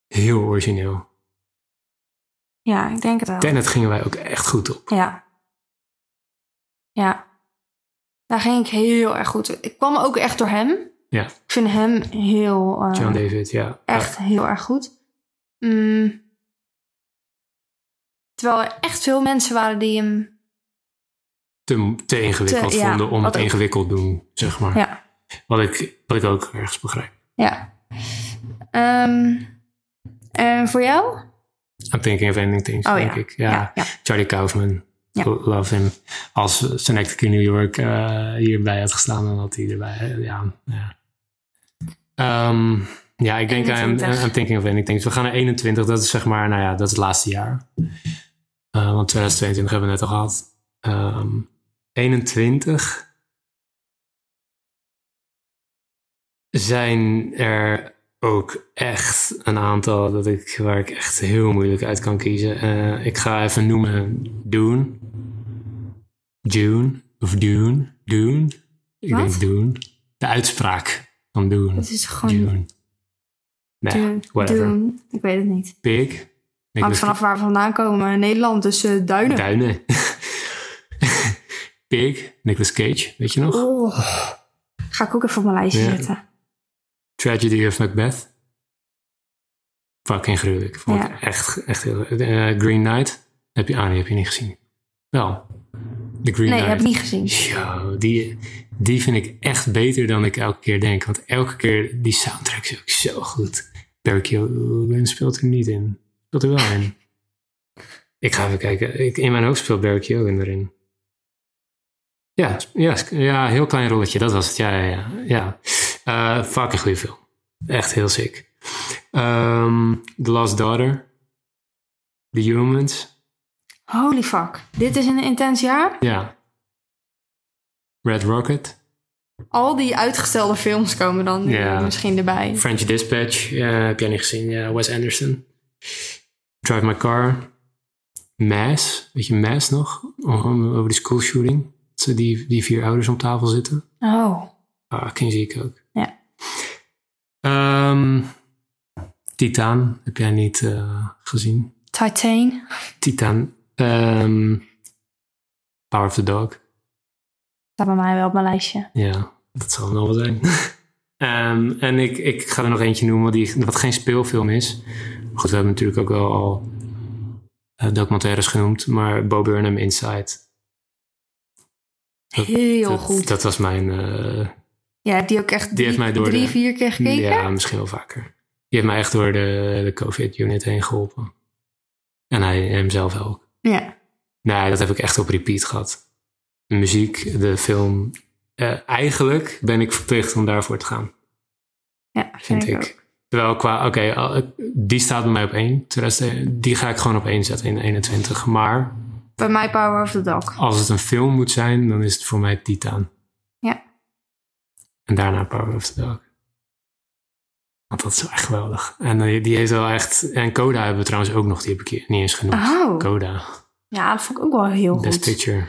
B: Heel origineel.
A: ja, ik denk het wel.
B: Tenet gingen wij ook echt goed op.
A: Ja. Ja. Daar ging ik heel erg goed. Ik kwam ook echt door hem.
B: Ja.
A: Ik vind hem heel... eh,
B: John David, ja.
A: echt heel erg goed. Mm. Terwijl er echt veel mensen waren die hem...
B: Te, te ingewikkeld
A: Te- ja,
B: vonden om
A: wat
B: het
A: ook.
B: ingewikkeld doen, zeg maar.
A: Ja.
B: Wat, ik, wat ik ook ergens begrijp.
A: Ja. Ehm, en voor jou?
B: I'm thinking of ending things,
A: Oh,
B: denk
A: ja.
B: ik. Ja.
A: ja.
B: Charlie Kaufman.
A: Ja.
B: Lo- Love him. Als Synecdoche in New York eh, hierbij had gestaan, dan had hij erbij. eh, Ja. Ja, Ehm, ja ik denk aan
A: 21.
B: I'm Thinking of Ending Things. We gaan naar 21. Dat is zeg maar, nou ja, dat is het laatste jaar. Eh, want 2022 hebben we net al gehad. Ehm, 21 zijn er ook echt een aantal dat ik, waar ik echt heel moeilijk uit kan kiezen. Eh, ik ga even noemen Dune. June of Dune. Dune. Ik
A: Wat?
B: denk Dune. De uitspraak van Dune.
A: Dat is gewoon
B: Dune. Nou, ja,
A: doen.
B: whatever.
A: doen. Ik weet het niet.
B: Pig.
A: Hangt vanaf waar we vandaan komen. In Nederland, dus eh, duinen.
B: Duinen. Pig. Nicolas Cage. Weet je nog?
A: Oh. Ga ik ook even op mijn lijstje
B: Ja.
A: zetten.
B: Tragedy of Macbeth. Fucking gruwelijk. Vond ik
A: Ja.
B: echt, echt heel... eh, Green Knight. Heb je, ah, die heb je niet gezien. Wel. Nou, The Green
A: Nee,
B: Knight.
A: heb ik niet gezien.
B: Yo, die, die vind ik echt beter dan ik elke keer denk. Want elke keer, die soundtrack is ook zo goed. Barry Lynn speelt er niet in. Speelt er wel in. Ik ga even kijken. Ik, in mijn hoofd speelt Barry Keoghan erin. Ja, ja, ja, heel klein rolletje. Dat was het. Ja, ja, ja. ja. Eh, fucking goede film. Echt heel sick. Ehm, The Last Daughter. The Humans.
A: Holy fuck. Dit is een intens jaar.
B: Ja. Red Rocket.
A: Al die uitgestelde films komen dan nu
B: Ja.
A: misschien erbij.
B: French Dispatch, eh, heb jij niet gezien, ja, Wes Anderson. Drive My Car. Mass, weet je Mass nog? Over over die schoolshooting. Dat ze Die, die vier ouders om tafel zitten.
A: Oh.
B: Ah, King zie ik ook.
A: Ja.
B: Ehm, Titaan, heb jij niet eh, gezien.
A: Titan.
B: Titaan. ehm, Power of the Dog.
A: Staat bij mij wel op mijn lijstje.
B: Ja, dat zal nog wel zijn. Ehm, en ik, ik ga er nog eentje noemen die, wat geen speelfilm is. Maar Goed, we hebben natuurlijk ook wel al eh, documentaires genoemd. Maar Bo Burnham Inside. Dat-
A: Heel
B: dat,
A: goed.
B: Dat was mijn... eh,
A: Ja, heb die ook echt
B: heeft
A: drie,
B: mij door
A: drie
B: de-
A: vier keer gekeken?
B: ja, misschien wel vaker. Die heeft mij echt door de, de COVID-unit heen geholpen. En hij hemzelf ook.
A: Ja.
B: Nee, dat heb ik echt op repeat gehad. De muziek, de film. Eh, eigenlijk ben ik verplicht om daarvoor te gaan.
A: Ja,
B: vind ik.
A: ook.
B: Terwijl qua, oké, al- die staat bij mij op één. De rest, eh, die ga ik gewoon op één zetten in 21. Maar
A: Bij mij Power of the Dog.
B: als het een film moet zijn, dan is het voor mij Titan.
A: Ja.
B: En daarna Power of the Dog. Want dat is wel echt geweldig. En eh, die heeft wel echt... En Coda hebben we trouwens ook nog, die heb ik hier niet eens genoemd.
A: Oh.
B: Coda,
A: Ja, dat vond ik ook wel heel
B: Best
A: Oh, goed.
B: Picture.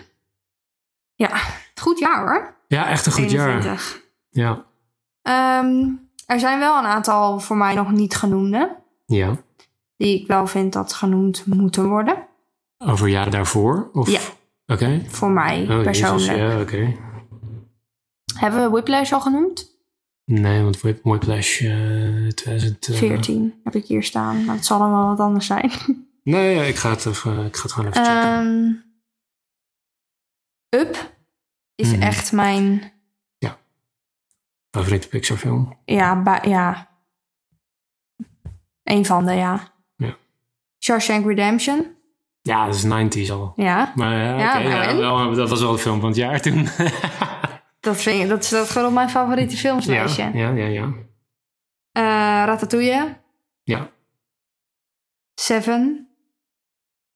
A: Goed jaar hoor.
B: Ja, echt een goed jaar.
A: 21.
B: Ja.
A: Ehm, er zijn wel een aantal voor mij nog niet genoemde.
B: ja.
A: Die ik wel vind dat genoemd moeten worden.
B: Over jaren daarvoor? Of?
A: Ja.
B: Oké.
A: Voor mij
B: Oh,
A: persoonlijk.
B: Jezus, ja, oké.
A: Hebben we Whiplash al genoemd?
B: Nee, want Whip- Whiplash eh 2000... eh,
A: 14 heb ik hier staan. Maar het zal dan wel wat anders zijn.
B: Nee, ja, ik ga het, even, ik ga het gewoon even checken.
A: Ehm, Up is
B: Mhm.
A: echt mijn...
B: Favoriete Pixar film.
A: Ja, ba- ja. Een van de, ja.
B: Ja.
A: Shawshank Redemption.
B: Ja, dat is 90s al.
A: Ja,
B: Maar ja,
A: Ja,
B: oké,
A: nou
B: ja,
A: en?
B: wel, dat was wel de film van het jaar toen.
A: dat, vind ik, dat is dat gewoon op mijn favoriete
B: ja,
A: filmslijstje.
B: ja, ja, ja.
A: Eh, Ratatouille.
B: Ja.
A: Seven.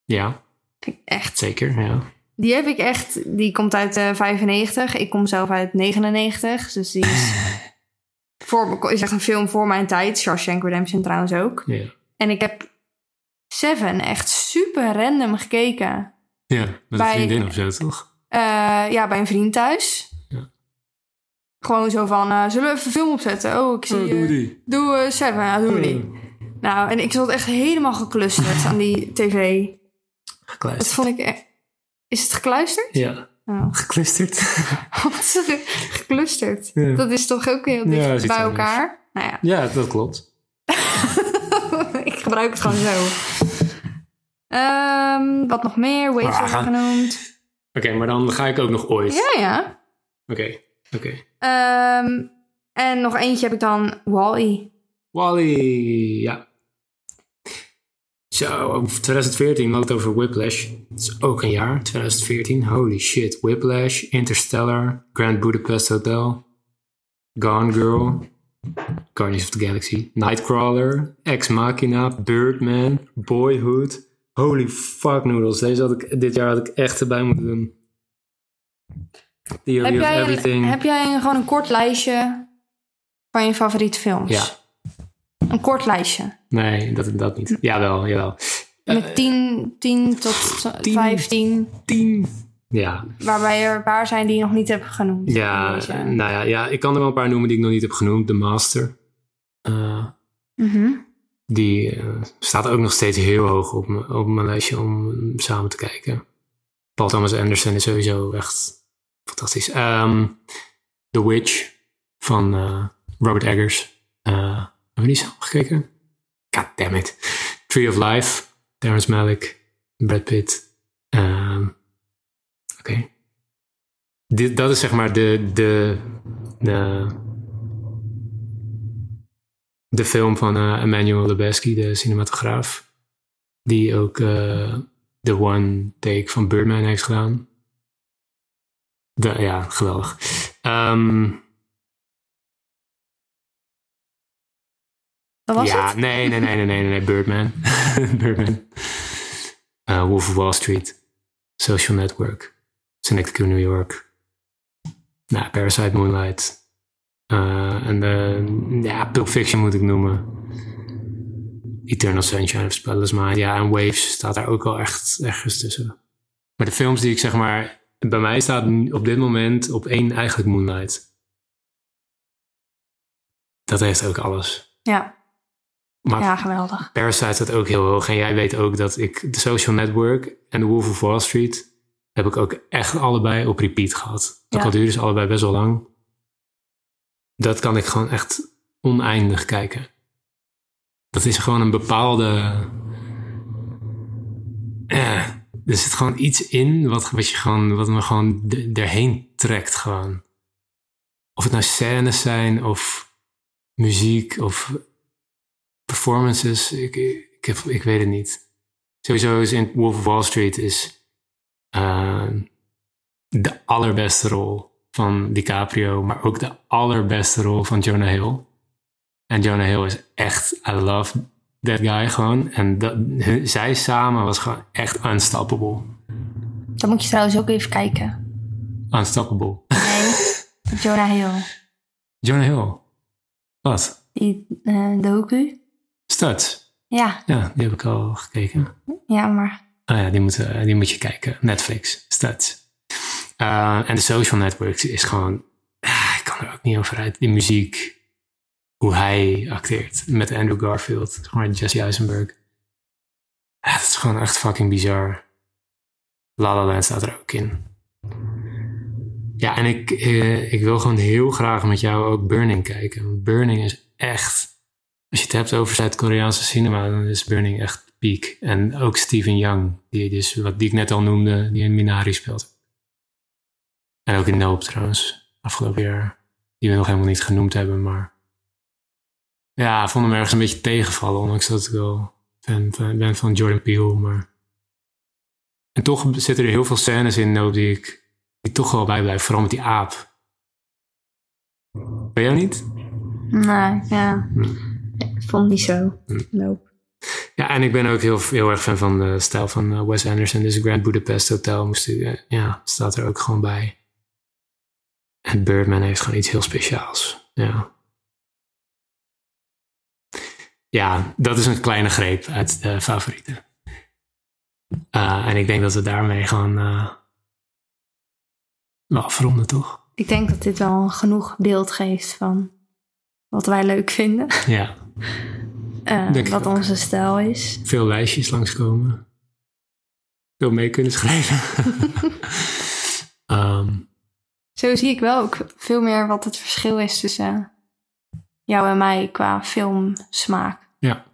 B: Ja,
A: Vind ik echt.
B: zeker. Ja.
A: Die heb ik echt. Die komt uit eh 95. Ik kom zelf uit 99. Dus die is. voor, me- is echt een film voor mijn tijd. Shawshank Redemption trouwens ook.
B: Ja.
A: En ik heb Seven echt super random gekeken.
B: ja, met
A: Bij-
B: een vriendin of zo, toch?
A: Eh, ja, bij een vriend thuis.
B: Ja.
A: Gewoon zo van, eh, zullen we even een film opzetten? Oh, ik zie...
B: Oh, doen we
A: eh,
B: die. Oh.
A: Doe eh, Seven, ja, doen we die. Nou, en ik zat echt helemaal geclusterd aan die tv. Dat
B: Gekluisterd.
A: vond ik echt... Is het gekluisterd?
B: Ja,
A: Oh.
B: gekluisterd.
A: Wat is er geclusterd?
B: Ja.
A: Dat is toch ook heel
B: Ja,
A: dicht
B: dat is iets
A: bij elkaar? Nou ja,
B: ja, dat klopt.
A: ik gebruik het gewoon zo. Ehm, wat nog meer? Waves
B: Ah.
A: hebben we genoemd.
B: Oké, maar dan ga ik ook nog ooit.
A: Ja, ja.
B: Oké, oké.
A: Ehm, en nog eentje heb ik dan, Wall-E.
B: Wally, ja. Zo, 2014 had het over Whiplash. Dat is ook een jaar, 2014. Holy shit, Whiplash, Interstellar, Grand Budapest Hotel, Gone Girl, Guardians of the Galaxy, Nightcrawler, Ex Machina, Birdman, Boyhood. Holy fuck noodles, deze had ik, dit jaar had ik echt erbij moeten doen. Theory
A: Heb
B: of
A: jij, een,
B: Everything.
A: heb jij een- gewoon een kort lijstje van je favoriete films?
B: Ja,
A: Een kort lijstje.
B: nee, dat, dat niet. Jawel, jawel. Eh,
A: Met 10, 10 tot t- 15.
B: Tien. Ja,
A: Waarbij er waar zijn die je nog niet hebt genoemd.
B: Ja,
A: Deze.
B: eh, nou ja, ja, ik kan er wel een paar noemen die ik nog niet heb genoemd. De Master. Eh,
A: Mhm.
B: die eh, staat ook nog steeds heel hoog op, mijn- op mijn lijstje om hem samen te kijken. Paul Thomas Anderson is sowieso echt fantastisch. Ehm, The Witch van eh, Robert Eggers. Eh, hebben we die samen gekeken? God damn it. Tree of Life, Terrence Malick, Brad Pitt. Ehm, Oké. Dit- Dat is zeg maar de, de, de, de film van eh, Emmanuel Lubezki, de cinematograaf. Die ook eh, de one take van Birdman heeft gedaan. De- ja, geweldig. Ehm,
A: Dat was
B: ja,
A: het?
B: Nee, nee, nee, nee, nee, nee, nee, Birdman. Birdman. Eh, Wolf of Wall Street. Social Network. Synecdoche, New York. Nou, Parasite Moonlight. Eh, en de, ja, Pulp Fiction moet ik noemen. Eternal Sunshine of the Spotless Mind. Ja, en Waves staat daar ook wel echt ergens tussen. Maar de films die ik zeg maar... Bij mij staat op dit moment op één eigenlijk Moonlight. Dat heeft ook alles.
A: Ja.
B: Maar
A: ja, geweldig.
B: Parasite staat ook heel hoog. En jij weet ook dat ik The Social Network en The Wolf of Wall Street... heb ik ook echt allebei op repeat gehad. Dat
A: Ja.
B: al duurde ze allebei best wel lang. Dat kan ik gewoon echt oneindig kijken. Dat is gewoon een bepaalde... Eh, er zit gewoon iets in wat, wat, je gewoon, wat me gewoon de- erheen trekt gewoon. Of het nou scènes zijn of muziek of performances, ik, ik, heb- ik weet het niet. Sowieso is in Wolf of Wall Street is eh, de allerbeste rol van DiCaprio, maar ook de allerbeste rol van Jonah Hill. En Jonah Hill is echt, I love that guy gewoon. En dat, hun- zij samen was gewoon echt unstoppable.
A: Dan moet je trouwens ook even kijken.
B: Unstoppable.
A: Nee. Jonah Hill.
B: Jonah Hill. Wat?
A: Die eh docu.
B: Studs.
A: Ja,
B: Ja, die heb ik al gekeken.
A: ja, maar...
B: Ah ja, die moet, eh, die moet je kijken. Netflix, Studs. Eh, En de social networks is gewoon... ah, ik kan er ook niet over uit. Die muziek, hoe hij acteert met Andrew Garfield. Gewoon Jesse Eisenberg. Ah, dat is gewoon echt fucking bizar. La La Land staat er ook in. Ja, en ik, eh, ik wil gewoon heel graag met jou ook Burning kijken. Want Burning is echt... Als je het hebt over Zuid-Koreaanse cinema, dan is Burning echt piek. En ook Steven Young, die, dus, wat, die ik net al noemde, die in Minari speelt. En ook in Nope trouwens, afgelopen jaar. Die we nog helemaal niet genoemd hebben, maar... Ja, ik vond hem ergens een beetje tegenvallen, ondanks dat ik wel fan van- ben van Jordan Peele, maar... En toch zitten er heel veel scènes in Nope die ik die toch wel bijblijven, vooral met die aap. Ben jij niet?
A: Nee, nou, ja. Ik vond het niet zo. Nope.
B: Ja, en ik ben ook heel, heel erg fan van de stijl van eh, Wes Anderson. Dus Grand Budapest Hotel moest, u- eh, ja, staat er ook gewoon bij. En Birdman heeft gewoon iets heel speciaals. Ja. ja, dat is een kleine greep uit de favorieten. Eh, en ik denk dat we daarmee gewoon eh wel afronden, toch?
A: Ik denk dat dit wel genoeg beeld geeft van wat wij leuk vinden.
B: Ja,
A: Eh,
B: Denk ik
A: wat
B: ook.
A: onze stijl is.
B: veel lijstjes langskomen. Veel mee kunnen schrijven. Ehm
A: Zo zie ik wel ook veel meer wat het verschil is tussen jou en mij qua filmsmaak.
B: Ja.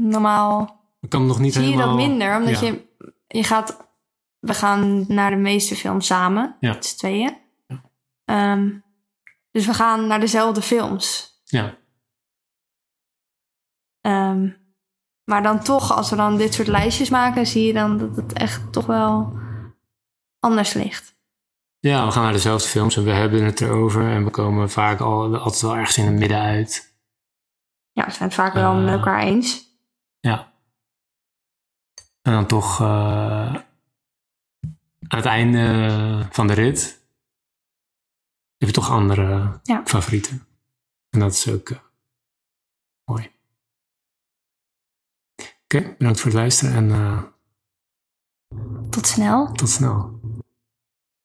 A: Normaal
B: Ik kan hem nog niet
A: zie je
B: helemaal...
A: dat minder, omdat
B: ja.
A: je, je gaat... We gaan naar de meeste films samen,
B: Ja.
A: met z'n tweeën. Ehm, dus we gaan naar dezelfde films.
B: Ja.
A: Ehm, maar dan toch, als we dan dit soort lijstjes maken, zie je dan dat het echt toch wel anders ligt.
B: Ja, we gaan naar dezelfde films en we hebben het erover. En we komen vaak al, altijd wel ergens in het midden uit.
A: Ja, we zijn het vaak wel
B: Eh.
A: met elkaar eens.
B: Ja. En dan toch eh, aan het einde van de rit heb je toch andere
A: Ja.
B: favorieten. En dat is ook eh, mooi. Oké, bedankt voor het luisteren en eh,
A: Tot snel.
B: tot snel.